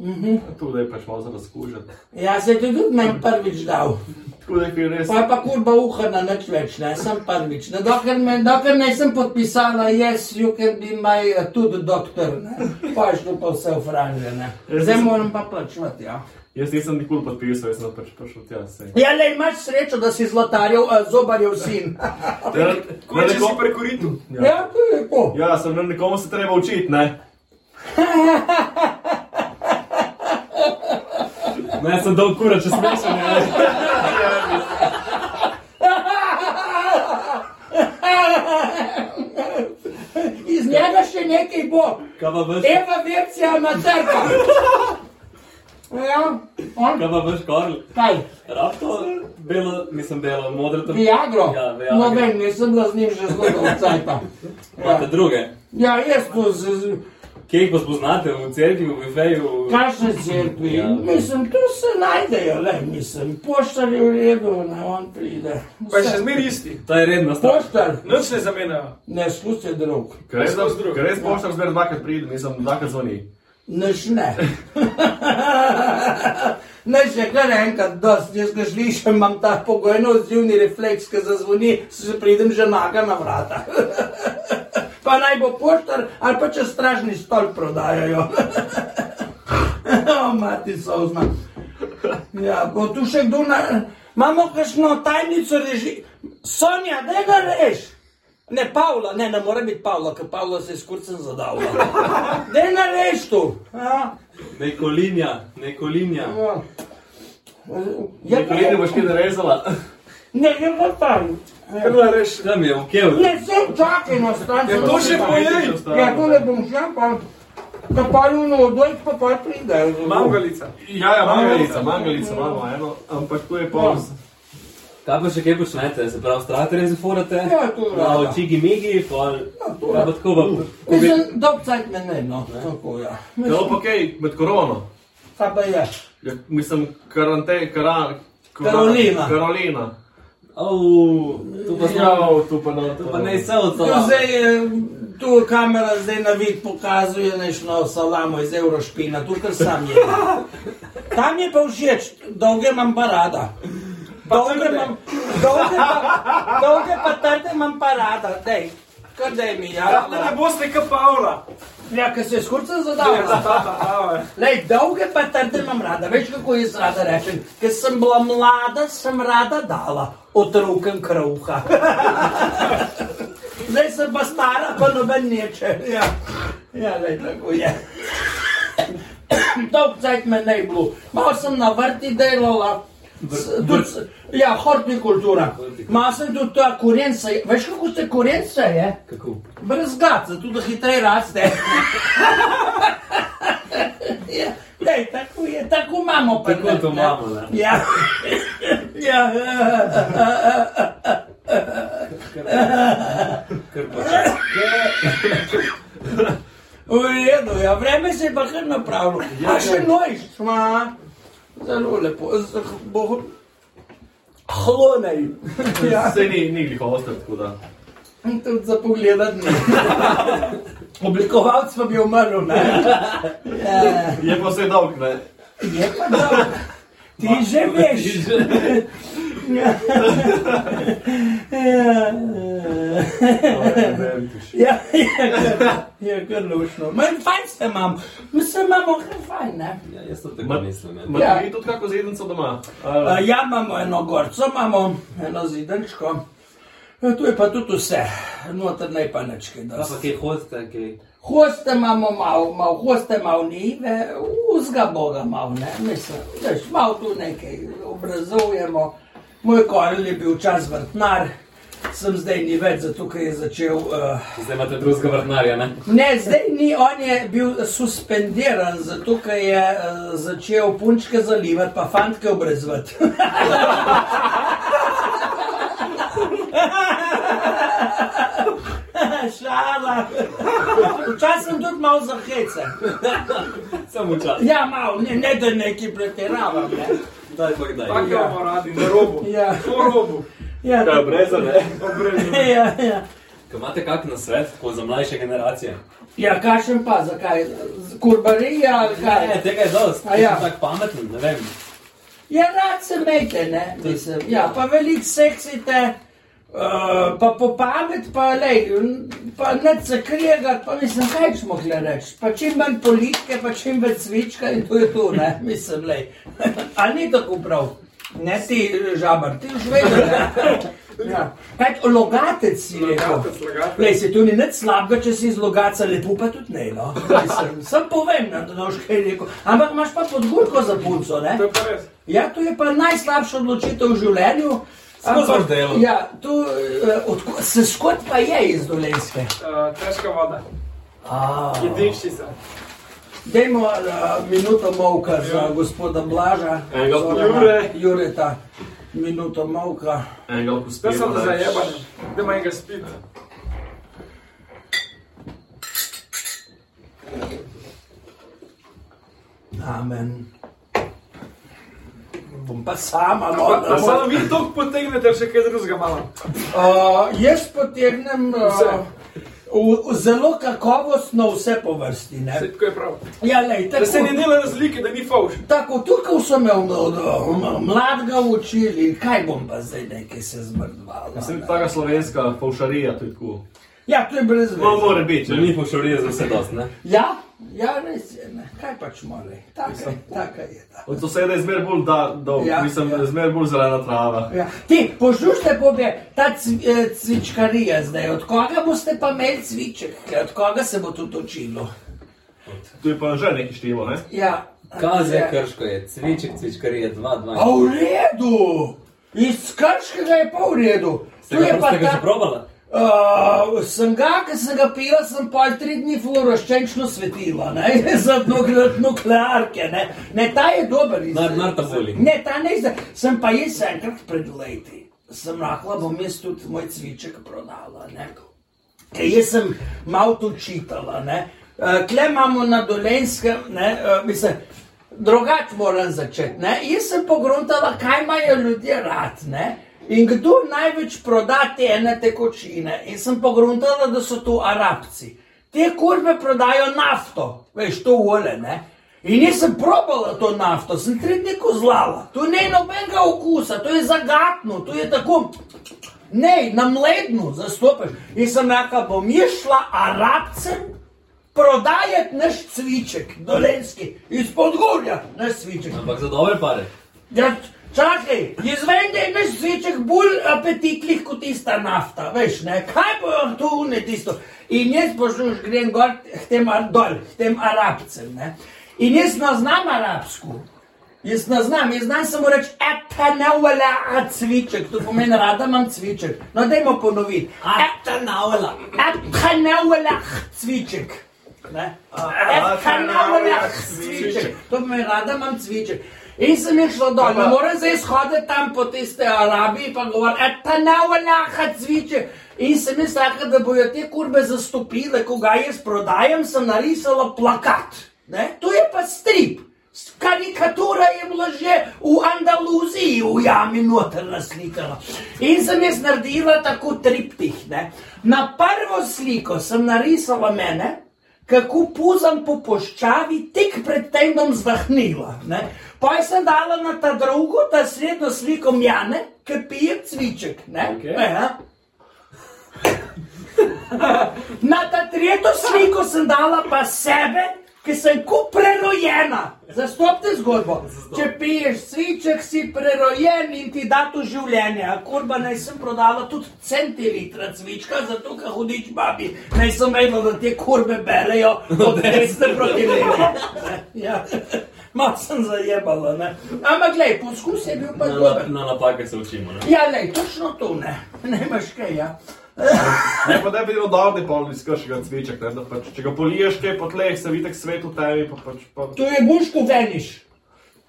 S5: Mhm.
S7: Tu da je pač malo za razkužiti.
S5: ja, se ti tudi meni prvič dal.
S7: Tako da je res.
S5: Pa je pa kurba uhana, nič več, ne, sem prvič. Ne, dokler, me, dokler nisem podpisala, jaz, yes, you can be my eh, tudi doktor, ne. Pa je šlo pa vse v franje, ne. Zdaj moram pa plačati, ja.
S7: Jaz nisem nikoli podpisal, jaz sem pač prišel tja. saj.
S5: Ja, le imaš srečo, da si zlatarjev, eh, zobarjev sin.
S7: Ja,
S4: Ko je, če si
S7: neko-
S4: pri koritu?
S5: Ja, to je to.
S7: Ja, sem na nekomu se treba učiti, ne? Ne, sem dol kura, če smešen, ne.
S5: Iz njega še nekaj bo.
S6: Kaj pa veš,
S5: Eva Vircija ima crkva. Ja, on,
S6: kaj pa veš, Karl?
S5: kaj?
S6: Rapto, belo, mislim belo, modro tam.
S5: Viagro?
S6: Ja, Viagro.
S5: No, vem, nisem bila z njim že zelo dolgo časa.
S6: Imate druge.
S5: Ja, jaz to z, z
S6: Kje jih pa spoznate? V cerkvi, v bifeju?
S5: kakšne cerkve. Ja. Mislim, tu se najdejo, le mislim. Poštar je v redu, ne on pride.
S4: Pa je še zmeri isti.
S6: To je redna stvar.
S5: Poštar,
S4: Noč ne zamenjajo.
S5: ne slušaj drug,
S7: Ker res,
S4: Skozi drugo.
S7: ker res poštar zmer dvakrat pridem, nisem dvakrat zvoni.
S5: než ne. Ne, že kar enkrat, dost, jaz ga slišim, imam ta pogojno odzivni refleks, ki zazvoni, se pridem že naga na vrata. Pa naj bo poštar ali pa če stražni stol prodajajo. O, mati sozna. Ja, bo tu še kdo na... Imamo kakšno tajnico reži... Sonja, da ga reš! Ne, Pavla, ne, ne more biti Pavla, ker Pavla se je s kurcem zadavila. Da ne reš tu. Ja,
S6: Nekolinja, nekolinja.
S5: ja. Ja,
S7: Nikoli ne boš kaj narezala.
S5: Ne, ne bo tam.
S6: Kaj reš? Tam je, v kevu.
S5: Ne, sem čakaj no, na stran.
S4: Ja, to še pojej.
S5: Ja, to ne bom šel, pa... Da pa je ono odoj, pa pa pride.
S4: Mangalica.
S7: Ja, ja, mangalica, Ja. mangalica, imamo eno, ampak to je pa...
S6: Kaj pa še kaj počnete? Se pravi, strate res forate?
S5: Ja, to je rada.
S6: Čigi migi, pol. Kaj pa tako pa?
S5: Uh. Mislim, dolg cajt me ne, no, tako ja.
S7: Ja, pa kaj, med korono.
S5: Kaj pa je?
S7: Ja, mislim, karante, karan, kora-
S5: Karolina.
S7: Karolina.
S6: Au, tu pa
S7: Ja,
S6: smo.
S7: tu pa na to.
S6: Pa ne se odsala.
S5: Tu zdaj, eh, tu kamera zdaj na vid pokazuje nešno salamo iz Eurošpina, tu kar sam je. Tam je pa všeč, dolge imam pa rada. Dolge imam, dolge pa, dolge pa trde imam pa rada, dej. Kar dej mi, ja.
S4: Da ne boste kot Pavla. Ja,
S5: Ja, ker se je skurca zadala. Lej, dolge pa trde imam rada, veš kako jaz rada rečem. Ker sem bila mlada, sem rada dala otrokom kruha. Zdaj sem pa stara, pa noben neče. Ja, ja lej, tako je. dolg cajt me ne bilo. Malo sem na vrti delala. s- tudi s- Ja, hortikultura. Malo sem tudi ta korenca. je- Veš, kako se korenca je?
S6: Kako?
S5: Brez gad, zato da hitreje raste. ja, daj, tako je, tako imamo. pa
S6: Tako
S5: ne,
S6: to
S5: ne.
S6: imamo, ne.
S5: Ja. ja. V redu, ja, vreme se je pa kar napravilo.
S6: Ja,
S5: A še noj, sma. Zelo lepo, z- bo- hlonej. Ja,
S7: Saj ni, ni glih oster, tako da.
S5: tudi za pogledati ne. Oblikovalc pa bi umrl, ne. Ja.
S7: Je pa vse dolg, ne?
S5: Je pa dobro. Ti že veš. Ja, je kar- je kar lušno. Manj fajn se imam, mislim, imamo kar fajn. Ne?
S6: Ja, jaz to tako mislim. ja.
S7: Ma
S5: Ja.
S7: ja. ti tudi kako zjednico doma?
S5: A,
S7: Ali-
S5: Ja, imamo eno gorco, imamo eno zidenčko. Ja, Tu je pa tudi vse, noter naj pa nečke.
S6: Pa kje hodite, kje?
S5: Hoste imamo malo, malo hoste, malo nive, vzga Boga malo, ne, mislim, veš, malo tu nekaj obrazujemo. Moj korel je bil čas vrtnar, sem zdaj ni več, zato ker je začel. Uh,
S6: Zdaj imate drugega vrtnarja, ne?
S5: Ne, zdaj ni, on je bil suspendiran, zato ker je eh, začel punčke zalivati, pa fantke obrezvati. Šala. Včasih sem tudi malo zahecen.
S6: Samo čas.
S5: Ja, malo, ne, ne da neki pretiravam. Ne.
S6: Daj, bog, daj.
S4: Tako imamo radi, na robu.
S5: Ja,
S4: Po robu.
S5: ja,
S7: Ja, brez, ne?
S5: ja, ja.
S6: Ko imate kak na svet, ko za mlajše generacije?
S5: ja kašem pa, zakaj? Z Kurbarija ali kaj?
S6: Ne, E, tega je dost.
S5: A ja.
S6: Ja. Tako pameten, ne vem.
S5: Ja, rad se mejte, ne, mislim. Ja, pa veliko seksite, uh, pa po pamet, pa lej, n- pa ne se krijega, pa mislim, kaj smo hle reči. Pa čim manj politike, pa čim več svička in to je to, ne, mislim, lej. A ni tako prav? Ne ti žabar, ti už veš, ne. Ja. Kaj, logatec si rekel. Lej, se tu ni nič slabega, če si iz logaca lepo, pa tudi ne. No. Mislim, Sam povem, no, da ne boš kaj rekel. Ampak imaš pa podgurko za punco, ne?
S4: To je pa res.
S5: Ja, to je pa najslabša odločitev v življenju.
S6: Samo
S5: Ampak,
S6: za delo.
S5: Ja, to, eh, odko, se skot pa je iz dolenske.
S4: Uh, težka voda. Je dikšica.
S5: Dajmo uh, minuto molka za gospoda Blaža,
S7: Enega
S5: Zorana,
S7: Jure.
S5: Jureta. Minuto molka.
S7: Enega lahko
S4: Da
S7: spijemo,
S4: sem
S7: ne?
S6: ja,
S4: zajeban. Da ima enega spit.
S5: Amen. Bom pa sama, no,
S4: Pa,
S5: da
S4: pa
S5: bo.
S4: samo vi to potegnete, še kaj drugega malo.
S5: Uh, jaz potegnem
S4: Vse.
S5: uh, v, v zelo kakovostno vse po vrsti. Ne?
S4: Tako je prav.
S5: Ja, lej,
S4: Da se
S5: tako-
S4: ne dela razlike, da ni fauš.
S5: Tako, tukaj so me od- od- od mladega učili, kaj bom pa zdaj nekaj se zmrdval.
S3: Ja,
S7: Sem taka slovenska faušarija, to je tako.
S5: Ja, to je brez
S7: No,
S5: veze.
S7: mora biti,
S6: Če
S7: ne?
S6: ni pošorije za vse dost, ne?
S5: Ja, ja, res je, ne. kaj pač mora. Taka, je, taka je. ta.
S7: Od soseda je zmer bolj da, dolg,
S5: Ja,
S7: ja, mislim,
S5: ja.
S7: ja. zmer bolj zelena trava.
S5: Ja. Ti, poslušajte, pobe, ta cvi, eh, cvičkarija zdaj, od koga boste pa imeli cviček, Ker od koga se bo tudi točilo.
S7: Tu je pa že nekaj število, ne?
S5: Ja.
S6: Kaze,
S5: Ja.
S6: krško je, cviček, cvičkarije, dva, dva.
S5: A v redu, iz krškega je pa v redu. Tu
S6: Tega
S5: je pa
S6: prostega že
S5: ta.
S6: probala?
S5: Uh, sem ga, ki sem ga pila, sem pa tri dni fluoroščenčno svetila, ne, za nukle- nuklearke. Ne, ne ta je dober
S6: Mar-
S5: izdelek.
S6: Marta Boli.
S5: Ne, ta ne izdelek. Sem pa jaz enkrat pred leti, sem rahla, bom jaz tudi moj cviček prodala. Ne. Ker jaz sem malo tu čitala. ne. Eh, Tle imamo na dolenskem, ne, eh, mislim. Drugače moram začeti. ne. Jaz sem pogruntala, kaj imajo ljudje rad. Ne? In kdo največ proda te ene tekočine. In sem pogruntala, da so to arabci. Te kurve prodajo nafto, veš, to ole. Ne? In jaz sem probala to nafto, sem tri dni kozlala. Tu ni nobenega okusa, to je zagatno, to je tako. Ne, na mlednu zastopiš. In sem rekla, bom jaz šla arabcem prodajati naš cviček, dolenski, iz podgorja, naš cviček.
S6: Ampak za dobre pare.
S5: Ja, čakaj, jaz vem, da je naš cviček bolj apetitlih kot tista nafta, veš, ne, kaj bo tu une tisto. In jaz pošljuš grem gor, k tem ar- dol, k tem arabcem, ne. In jaz ne znam arabsko. Jaz ne znam, jaz znam samo reči, etanavela, a cviček, to pomeni, rada imam cviček. No, dajmo ponoviti. Etanavela, etanavela, cviček. Ne? Etanavela, cviček, to pomeni, rada imam cviček. In sem jih šla dol, ne morem zdaj shoditi tam po tiste Arabiji, pa govor, etanavela, cviček. In sem jaz rekla, da bojo te kurbe zastopile, ko ga jaz prodajam, sem narisala plakat. Ne? To je pa strip. Karikatura je bila že v Andaluziji, v jami noter naslikana. In sem jaz naredila tako triptih. Ne? Na prvo sliko sem narisala mene, kako puzam po poščavi, tik pred tem bom zdahnila. ne. Potem sem dala na ta drugo, ta srednjo sliko Jana, ki pije cviček. Ne?
S3: Okej.
S5: Ja. Na ta tretjo sliko sem dala pa sebe, ki sem kot prerojena. Zastopite zgodbo. Če piješ sviček, si prerojen in ti da to življenje. A kurba naj sem prodala tudi centilitra cvička, zato ker hudič babi. Naj sem vedela, da te kurbe berejo od desne proti levi. Ja. Mal sem zajebala, ne. Ampak glej, poskus je bil pa
S6: Na,
S5: dober.
S6: na napake se učimo. Ne?
S5: Ja, lej, točno to ne. Ne imaš kaj, ja.
S7: Ne, pa ne bi bilo dobro, da polni skršega cviček, ne, da pač, če ga poliješ kaj po tleh, se vidi tak svet v tebi, pa pač pa...
S5: To je buško veniš.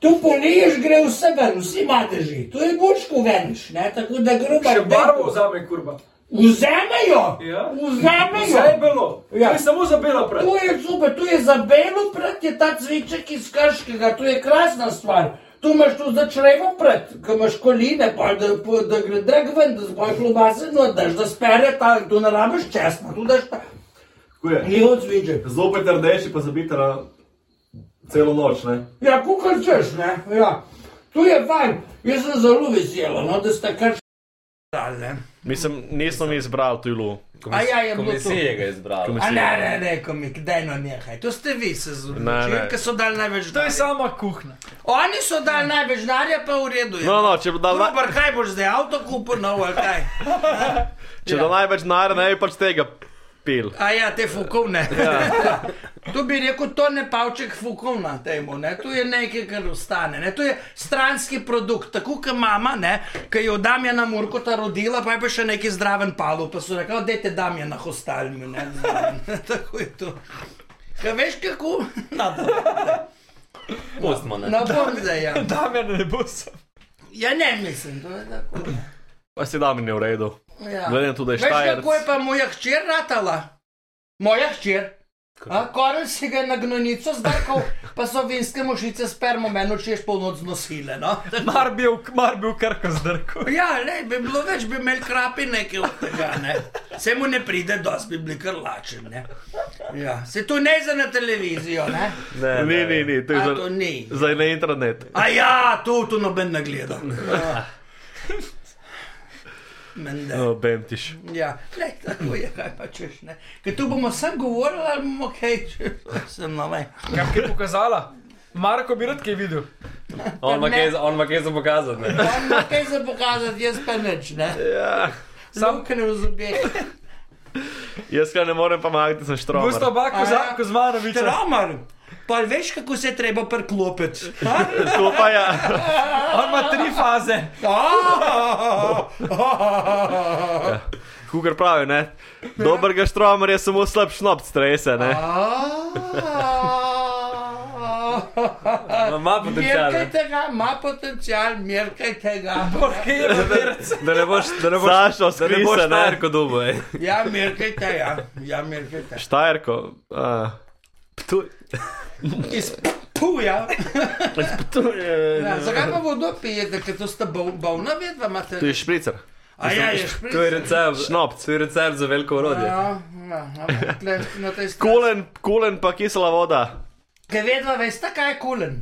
S5: Tu poliješ, gre vse ven, vsi madeži. To je buško veniš, ne? tako da groba
S4: Še barvo vzame, kurva.
S5: Vzamejo!
S4: Ja. Vse je
S5: Vzamejo!
S4: bilo.
S5: Ja.
S4: Ja. Samo za belo pred.
S5: To je super, to je za belo pred, je ta cviček iz Krškega, to je krasna stvar. Tu imaš tu za črevo pred, ko imaš koline, pa da, pa, da gre drag ven, da zboj klobase nodaš, da spere ta, tu ne rabiš česna, tu daš ta.
S7: Tako je.
S5: Ni od cviček.
S7: Zopet rdeči pa zabita na celo noč, ne.
S5: Ja, kukar češ, ne? Ja. Tu je fajn, jaz sem zelo vesela, no, da ste kar
S3: Mislim, nisem izbral tujlu.
S5: A ja, je bilo to.
S6: Komisije ga je izbralo.
S5: A ne, ne, ne, komik, daj no nehaj. To ste vi se
S3: Ne, ne.
S5: zgodili, ker so dali največ
S4: To je
S5: denarja.
S4: sama kuhna.
S5: Oni so dali največ denarja, pa v redu je.
S3: No, no, če bi dal, na,
S5: Dobar, kaj boš zdaj, avto kupil, no, ali kaj?
S3: če
S6: ja.
S3: dal največ denarja, ne bi pač tega pil.
S5: A ja, te fukovne.
S4: Ja.
S5: tu bi rekel, to ne pavček fukovna temu, ne? to je nekaj, kar ostane. Ne? To je stranski produkt, tako kot mama, ne? ki je od Damjana Murkota rodila, pa je pa še neki zdraven palo, pa so rekli, dajte Damjana hostalmi. ne, zraven." tako je to. Kaj veš kako? No,
S6: Pustimo, ne.
S5: no bom zdaj. Ja.
S4: Damjan ne bo sam.
S5: ja, ne mislim, to je tako.
S3: Pa si da mi ne v redu.
S5: Ja.
S3: Glede na to, da je
S5: Veš,
S3: štajer.
S5: kako je pa moja hčer ratala? Moja hčer. Koren si ga je na gnojnico zdrkal, pa so vinske mušice s permom eno češ polnoč nosile. No?
S4: Mar bi v, mar bi v krko zdrkal.
S5: Ja, ne, bi bilo več, bi imel krapi nekaj od tega. Ne? Se mu ne pride, dosti bi bili kar lačen. Ne? Ja. Se to ne za na televizijo, ne?
S3: Ne, ni, ni, ni, to je
S5: A
S3: za,
S5: to ni.
S3: za na internet.
S5: A ja, to, to noben ne gleda. Ja. Menda.
S3: No, bemtiš.
S5: Ja, lej, tako je, kaj pa češ. ne. Ker tu bomo sem govorili, ali bomo kaj češ. Sem na mej.
S4: Kaj bi kaj pokazala? Marko bi rad kaj videl.
S6: On ima
S5: ne.
S6: kaj za- on ima kaj za pokazati. ne.
S5: On ima kaj za pokazati, jaz pa nič, ne.
S3: Ja,
S5: Sam kaj ne razumem.
S3: jaz ga ne morem pomagati, sem štromar.
S4: Bosta oba
S5: Aja.
S4: Kozmanovič.
S5: Tramar, pa veš, kako se je treba priklopiti.
S3: To pa ja.
S4: On ima tri faze.
S3: Kukar pravi, ne. Dobrega štromar je samo slab šnop strese, ne.
S6: Ma- Ima potencial.
S5: Merkaj
S6: ne.
S5: tega, ima potencial, merkaj tega.
S4: Kaj je papirc?
S6: Da ne boš, da ne boš,
S3: Sašo,
S6: da ne boš
S3: skrise, ne.
S6: narko dubo. ej.
S5: Ja, merkaj tega, ja, merkaj tega.
S3: Štajerko. a. Ptuj.
S5: Iz puja.
S3: Ptuj.
S5: Ja, zakaj pa vodo pijete, ker to sta bol- bolna vedva, imate?
S3: To je špricer. No,
S5: A ja, je špric.
S6: To je recept.
S5: No,
S3: Šnopc.
S6: To je recept za veliko orodje.
S5: Ja, ja, ampak tle na tej strani.
S3: Kulen, kulen pa kisela voda.
S5: Kaj vedva, veš, kaj je kulen?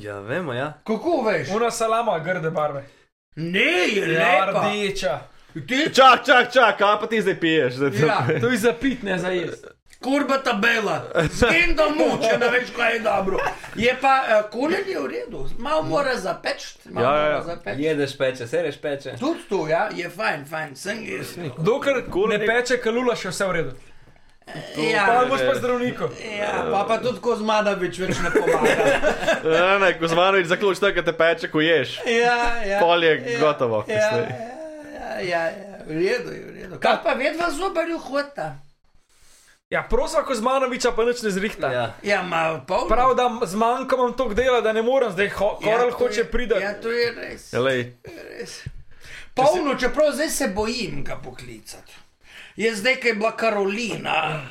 S6: Ja, vemo, ja.
S5: Kako veš?
S4: Una salama, grde barve.
S5: Ne, je
S4: Ja,
S5: lepa.
S4: rdeča.
S5: Ti
S3: Čak, čak, čak, kaj pa ti zdaj piješ? Zdaj,
S5: Ja.
S4: To je za pit, ne za jesti.
S5: kurba ta bela, s tem da muče, da veš, kaj je dobro. Je pa uh, kulen je v redu, malo mora zapeč, malo
S3: Ja, ja, ja.
S5: mora zapeč.
S6: Jedeš peče, sereš peče.
S5: Tudi to, ja, je fajn, fajn, sem jaz.
S4: Dokler ne peče kalula, še vse v redu. Pa
S5: Ja,
S4: boš pa zdravniku.
S5: ja, pa, pa tudi Kozmanovič več ne pomaga.
S3: Ne, ne, Kuzmanovič zaključ tako, da te peče, ko ješ.
S5: Ja, ja,
S3: Pol je
S5: ja,
S3: gotovo,
S5: Ja,
S3: kasneje.
S5: ja, ja, ja, v redu je, v redu. Kaj pa vedva zobarju hota?
S4: Ja, prosim, ko z Manoviča pa nič ne zrihta. Ja.
S5: Ja, ma pol.
S4: Prav, da z manjkom imam toliko dela, da ne morem zdaj, ho,
S5: ja,
S4: Karel ja,
S5: to
S4: hoče
S5: je-
S4: priti.
S5: Ja,
S4: Ja.
S5: to je res.
S3: Lej,
S5: Polno, čeprav zdaj se bojim ga poklicati. Jaz zdaj, ko je bila Karolina,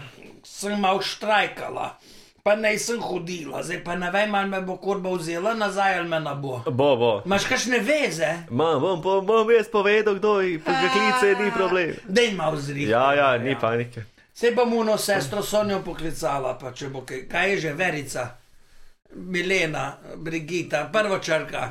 S5: sem malo štrajkala, pa naj sem hodila, zdaj pa ne vem, ali me bo korba vzela nazaj ali me ne bo.
S3: bo, bo.
S5: Imaš kakšne veze?
S3: Ma, bom, bom, bom jaz povedal, kdo je, pa ga klice, ni problem.
S5: Dej malo zrihti.
S3: Ja, ja, ni panike.
S5: Se bom uno sestro Sonjo poklicala, pa če bo kaj, kaj je že verica, Milena, Brigita, prvo črka,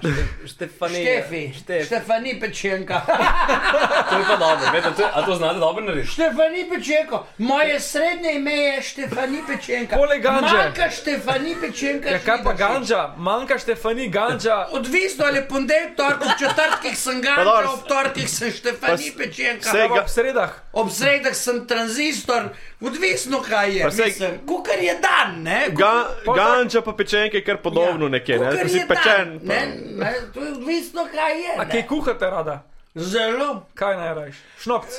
S6: Štefanija.
S5: Štefi,
S6: Štef.
S5: Štefani Pečenka.
S6: To je pa dobro, veš, to, je- a to znate dobro narediti?
S5: Štefani Pečenko, moje srednje ime je Štefani Pečenka.
S4: Poleg Ganže.
S5: Manjka Štefani Pečenka.
S4: Ja, kaj pa
S5: Švidašič.
S4: ganža, manjka Štefani, ganža.
S5: Odvisno ali je ponedeljek, torek, ob četrtkih sem Ganža,
S3: dobro,
S5: ob torkih sem Štefani
S3: s-
S5: Pečenka.
S3: saj
S4: Ga...
S3: Ga-
S4: Ob sredah.
S5: Ob sredah sem tranzistor, odvisno kaj je.
S3: Pa saj-
S5: Mislim, kukar je dan, ne?
S3: Ga,
S4: Pol-
S3: ganča pa pečenke je kar podobno nekje, ne?
S5: kakor
S3: Ko si
S5: Ja. je
S3: pečen.
S5: dan,
S3: Pa.
S5: Ne, ne, to je odvisno, kaj je.
S4: A kaj
S5: ne.
S4: kuhate rada?
S5: Zelo.
S4: Kaj najrajš? Šnopc.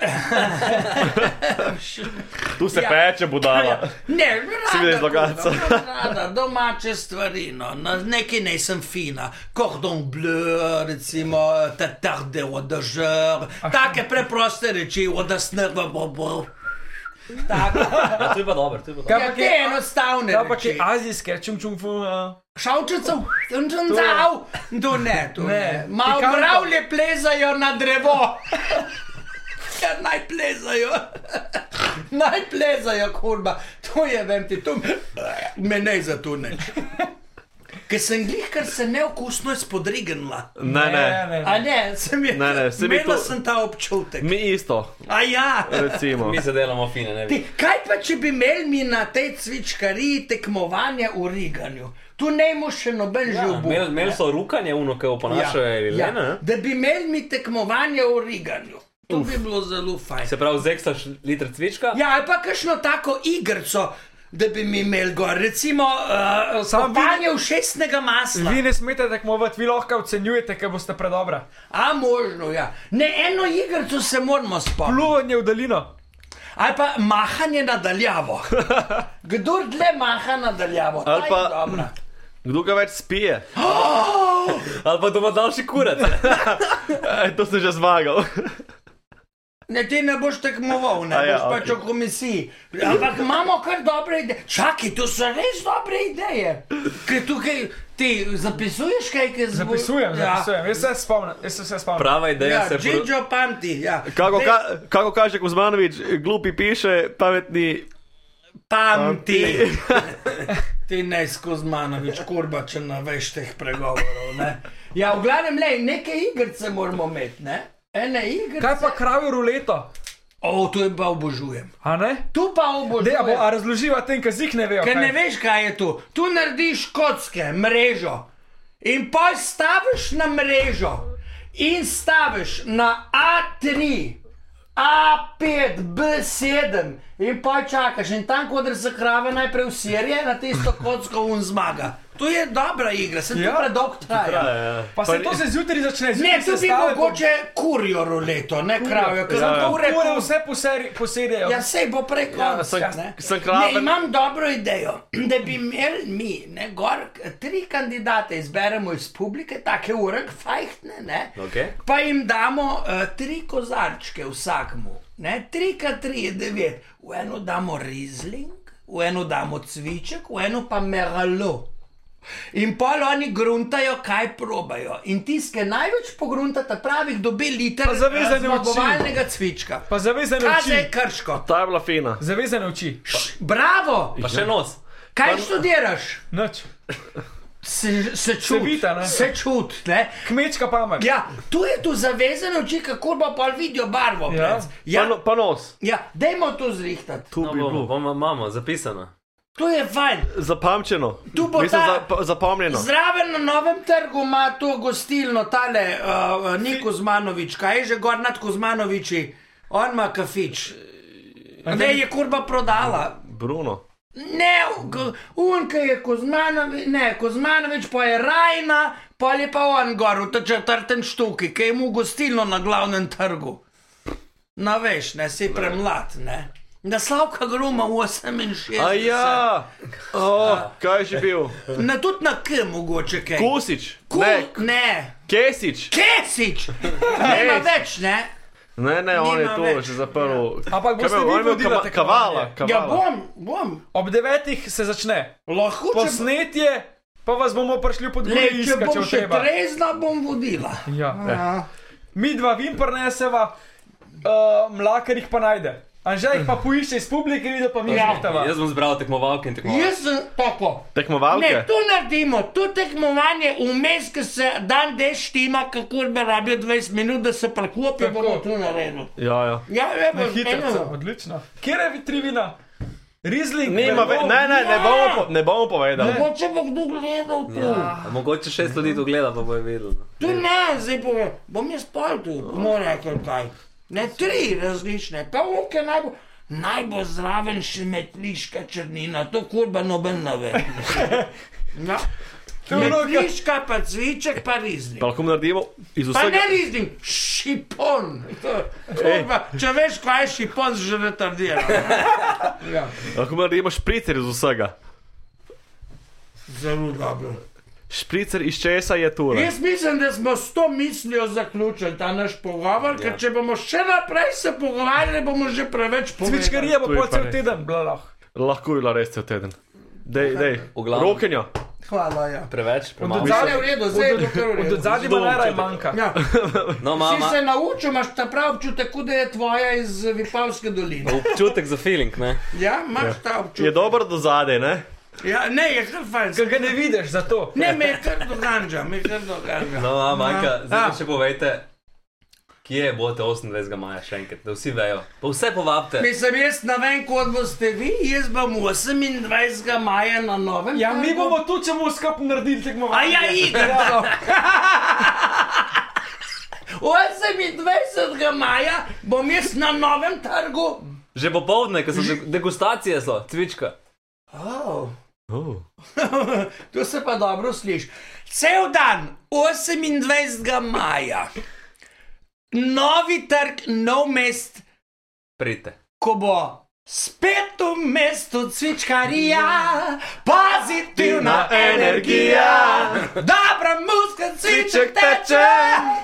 S5: Ja,
S3: Tu se
S5: Ja.
S3: peče budala.
S5: Ne,
S3: Si vidiš
S5: rada,
S3: logatca.
S5: kuham, rada, domače stvari, no, na- nekaj ne sem fina. Cordon bleu, recimo, tatarde odežer, take preproste reči, odasne v bobo. Tako,
S6: Ja, to je pa dobro, to je pa dobro.
S4: Kaj
S5: ja,
S4: pa
S5: te
S4: kaj,
S5: enostavne
S4: kaj pa kaj
S5: reči.
S4: azijske, čum čum fu. a?
S5: Šavčicov, sem že zav, do ne, do ne.
S4: Ne.
S5: Malo
S4: Pikanto.
S5: mravlje plezajo na drevo. Ja, naj plezajo, naj plezajo, kurba, to je, vem ti, to me ne zatune. Ker sem glih, ker se neokusno je spodrignila.
S3: Ne, ne.
S4: ne.
S5: A Ja, ne, sem je,
S3: Ne, ne, se mi
S5: imela
S3: to-
S5: sem ta občutek.
S3: Mi isto,
S5: A ja.
S3: recimo.
S6: Mi se delamo fine, ne
S3: E.
S5: Ti,
S6: bi.
S5: kaj pa, če bi imeli mi na tej cvičkariji tekmovanje v riganju? Tu ne mu še noben ja, že
S6: Ja,
S5: obup.
S6: Imeli imeli so rukanje, uno, ki oponašajo, ja, ali ja. ne?
S5: da bi imeli mi tekmovanje v riganju. To Uf. bi bilo zelo fajn.
S6: Se pravi, zeksaš liter cvička?
S5: Ja, ali pa kakšno tako igrico, da bi mi imeli gor, recimo uh,
S4: Samo vi-
S5: sapanje v šestnega masla.
S4: Vi ne smete tekmovati, vi lahko ocenjujete, ker boste predobra.
S5: A možno, ja. Ne, eno igrico se moramo spomniti.
S4: Pljuvanje v daljino.
S5: Ali pa mahanje nadaljavo. Kdor dlje maha nadaljavo,
S3: Ali
S5: ta je
S3: pa-
S5: dobra. Oh!
S3: Kdo ga več spije?
S6: Ali pa doma daljši kurat?
S3: E, to sem že zmagal.
S5: Ne, ti ne boš tekmoval, ne
S3: A ja,
S5: boš ja, pač
S3: okej.
S5: okay. v komisiji. Ampak imamo kar dobre ideje. Čakaj, to so res dobre ideje. Ker tukaj ti zapisuješ kaj, ki zbo...
S4: Zapisujem, zapisujem. Jaz se spomnim, jaz se vse spomnim.
S6: Prava ideja
S5: Ja,
S6: ja, se pro-
S5: Džinjo Panti, ja.
S3: Kako,
S5: Te
S3: ka, kako kaže Kuzmanovič, glupi piše, pametni.
S5: Panti. ti ne skozi mano, več kurba, če ne veš teh pregovorov. Ne? Ja, v glavnem, le, nekaj igrice moramo imeti, ne? Ene igrice.
S4: Kaj pa kravjo ruleto?
S5: O, to je pa obožujem.
S4: A ne?
S5: Tu pa
S4: Dej,
S5: obožujem.
S4: a, bo, a razloživa tem, ker zik ne vejo.
S5: Ker ne
S4: kaj.
S5: veš, kaj je tu. Tu narediš kocke, mrežo in poj staviš na mrežo in staviš na A3. A5, B7 in pa čakaš, in tam, kot se krave najprej usirje, na tisto kocko un zmaga. To je dobra igra, se ja,
S4: Ja.
S5: to predolgo traja.
S4: Pa se to se zjutraj začne zjutraj.
S5: Ne,
S4: se
S5: tu bi
S4: stave po- ja,
S5: mogoče kurjo roleto, ne krajo, ker
S4: Za pol
S5: sem to
S4: ure
S5: uredil.
S4: vse poseri- posedejo.
S5: Ja, sej bo prej konec.
S3: sem-
S5: Ja, ne?
S3: sem
S5: ne,
S3: kraven.
S5: imam dobro idejo, da bi imeli mi, ne, gor, tri kandidate izberemo iz publike, take urek, fajhtne, ne,
S6: Okej.
S5: pa jim damo uh, tri kozarčke vsakmu, ne, tri k tri je devet, v eno damo rizling, v eno damo cviček, v eno pa meralo. In pol oni gruntajo, kaj probajo. In tiske največ pogruntata pravih dobi liter
S4: Pa zavezane
S5: eh,
S4: oči.
S5: zmagovalnega cvička.
S4: Pa zavezane
S5: Kaj je
S4: oči.
S5: krško?
S3: Ta je bila fina.
S4: Zavezane oči.
S5: Bravo!
S6: Pa še nos.
S5: Kaj študiraš?
S4: Noč.
S5: Se, se čuti,
S4: vita, ne?
S5: se čuti. ne?
S4: Kmečka pamet.
S5: Ja, tu je tu zavezano oči, kako pa pol vidijo barvo.
S4: Ja.
S5: prec.
S3: Pa,
S5: ja,
S3: no, pa nos.
S5: ja dajmo to zrihtati.
S3: Tu
S6: No,
S3: bi
S6: bomo,
S3: bilo.
S6: bomo, imamo, zapisano.
S5: To je fajn.
S3: Zapamčeno.
S5: Tu bo
S3: Mislim,
S5: ta-
S3: za, pa- zapomnjeno.
S5: Zraven na novem trgu ima to gostilno, tale uh, Niko Zmanovič, kaj je že gor nad Kozmanoviči, on ima kafič. Ne, je kurba prodala.
S3: Bruno.
S5: Ne, ko- un, ki je Kozmanovič, ne, Kozmanovič pa je Rajna, pa je pa on gor v tem četrtem štuki, ki je mu gostilno na glavnem trgu. Na veš, ne, si premlad, ne. Da slavka gruma 68.
S3: A ja, oh, kaj je že bil?
S5: Na tudi na K mogoče kaj.
S3: Kusič,
S5: Ku-
S3: ne,
S5: ne.
S3: Kesič.
S5: Kesič! Nema več, ne?
S3: Ne, ne, on je
S5: Nima
S3: to
S5: več.
S3: že zaprl.
S4: Ampak
S3: Kaj je
S4: boste
S3: bil?
S4: vi
S3: On je bil
S4: vodila
S3: kava- kavala.
S4: tekmovanje.
S5: Ja,
S3: kavala.
S5: bom, bom.
S4: Ob devetih se začne.
S5: Lahko če,
S4: Posnetje, pa vas bomo prišli pod
S5: le,
S4: gre
S5: če
S4: iskat, če
S5: bom še
S4: treba.
S5: trezna, bom vodila.
S4: Ja.
S5: Ja.
S4: Mi dva vin prneseva, uh, mlakar jih pa najde. Anžel jih pa poišče iz publike, vidi pa mi
S5: Ja.
S4: žrtava.
S6: Jaz bom zbral tekmovalke in tekmovalce.
S5: Jaz sem tako. Ne,
S3: Tekmovalke.
S5: tu naredimo, tu tekmovanje vmes, ki se dan deš tima, kako bi rabil 20 minut, da se preklopi,
S4: Tako.
S5: bomo tu naredili.
S3: Ja, ja.
S5: Ja, ne,
S4: Na
S5: bo
S4: hitro, odlično. Kje je vi tri vina? Rizling,
S3: Nima ve,
S4: Merlot,
S3: ne, ne, ne bomo, po, ne bomo povedali.
S5: Mogoče bo kdo gledal tu. Ja.
S6: Ja, mogoče šest ljudi to gleda, pa bojo vedeli.
S5: Tu ne, zdaj bo, bom jaz spal tu, bomo rekel kaj. Ne, tri različne, pa oke naj bo. Naj bo zraven še metliška črnina, to kurba noben ne ve. Ja. Metliška pa cviček pa rizni.
S3: Pa lahko naredimo iz
S5: Pa ne
S3: vsega.
S5: riznim, šipon. Kurva, če veš, kaj je šipon, že ja. retardiran.
S3: Lahko naredimo špricer iz vsega.
S5: Zelo dobro.
S3: Špricer iz česa je tu. ne?
S5: Jaz mislim, da smo s to mislijo zaključili ta naš pogovor, ker če bomo še naprej se pogovarjali, bomo že preveč povedali.
S4: Cvičkarija bo
S3: To je
S4: pol
S3: pa
S4: cel
S3: res.
S4: teden, bila lahko.
S3: Lahko je bila res cel teden. Dej, dej.
S6: V glavnem.
S3: Rokenja.
S5: Hvala, ja.
S6: Preveč, premalo.
S5: Zdaj je v redu, zdaj je dokler
S3: Ja,
S5: v
S4: Od
S5: redu.
S4: zadnjega
S3: Dom,
S4: najraje
S3: čakaj.
S4: manjka.
S5: Ja.
S6: No,
S5: Si se
S6: mama,
S5: naučil, imaš ta prav občutek, kot da je tvoja iz eh, Vipavske doline.
S6: občutek za feeling, ne?
S5: Ja, imaš ta
S3: Je
S5: občutek.
S3: dobro do zadaj, ne?
S5: Ja, ne, je kar
S4: Ker
S5: fajn.
S4: ga ne vidiš, zato.
S5: Ne, me je kar doganja, me je kar doganja.
S6: No, mama, manjka, zdaj
S5: Ja.
S6: pa še povejte, kje boste 28. maja še enkrat, da vsi vejo. Pa vse povabite.
S5: Mislim, jaz ne vem, kot boste vi, jaz bom 28. maja na novem.
S4: Ja, mi
S5: trgu.
S4: bomo tu, če bomo skupaj naredili
S5: A
S4: tekmovanje. no.
S5: ja, idemo! 28. maja bom jaz na novem trgu.
S6: Že popovdne, ker so de- degustacije zlo, cvička.
S5: Oh,
S3: Oh.
S5: to se pa dobro sliši. Cel dan, 28. maja, novi trg, nov mest,
S6: Pridite.
S5: ko bo spet v mestu cvičkarija, pozitivna energija, dobra muska cviček teče,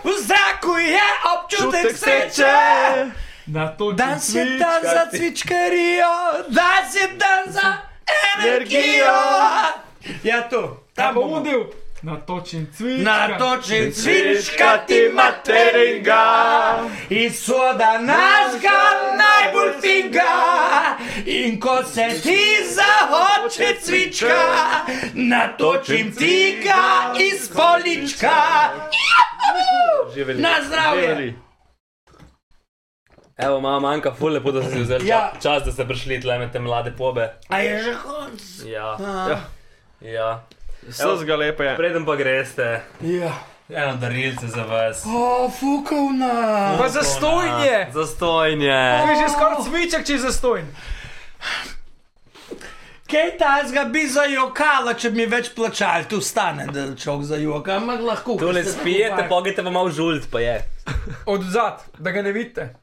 S5: v zraku je občutek
S3: Čutek
S5: sreče.
S3: sreče.
S4: Na to
S5: Dan je dan za cvičkarijo, dan je dan za energijo. Ja, to,
S4: Tam
S5: tam
S4: bom
S5: bomo.
S4: udil. Na točen cvička.
S5: Na točni cvičkati materinga in soda našega najbolj finga. In ko se ti zahoče cvička, natočim ti ga iz polička.
S3: Živeli.
S5: Na zdravje.
S3: Živeli.
S6: Evo, mama, manjka, ful lepo, da ste si vzeli
S5: Ja.
S6: ja. čas, da ste prišli tle med te mlade pobe.
S5: A je že konc?
S6: Ja,
S5: A,
S6: ja.
S3: Vsega lepe je.
S6: Preden pa greste,
S5: Ja.
S6: eno darilce za vas.
S5: O, fukovna.
S4: Pa zastojnje.
S5: Ja.
S4: To
S6: Zastojnje.
S4: je že skoraj cviček, če je zastojn.
S5: Kaj tazga bi zajokala, če bi mi več plačali, tu stane, da človek zajoka, ampak lahko.
S6: Tu ne
S5: Ja.
S6: spijete, pogajte pa malo žult, pa je.
S4: Od zad, da ga ne vidite.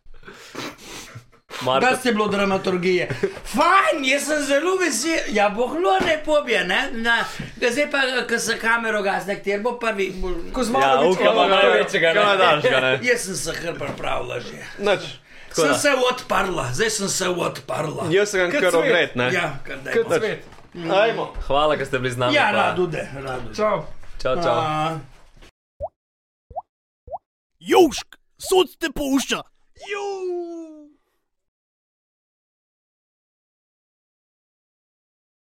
S6: Marko,
S5: Da ste bilo dramaturgije. Fajn, jaz sem zelo vesel, ja bohlo ne pobje, ne? Na, ga zdaj pa, ko se kamero gazne, kjer bo prvi. Bo...
S6: ja,
S4: Kozmanovič,
S6: ukamo
S4: ja,
S6: največjega.
S3: Kaj daš ga, ne?
S5: Jaz sem se kar pripravila že.
S3: Nič.
S5: Sem se odprla, zdaj sem se odprla.
S3: Jaz sem ga
S4: Kot
S3: kar
S4: svet.
S3: ogret, ne?
S5: Ja, kar da
S4: Kot
S5: je.
S4: cvet.
S3: Ajmo.
S6: Hvala, ker ste bili z nami.
S5: Ja,
S6: pa-
S5: radude, radude.
S4: Čau.
S6: Čau, čau.
S1: Južk, sod te pušča. Južk.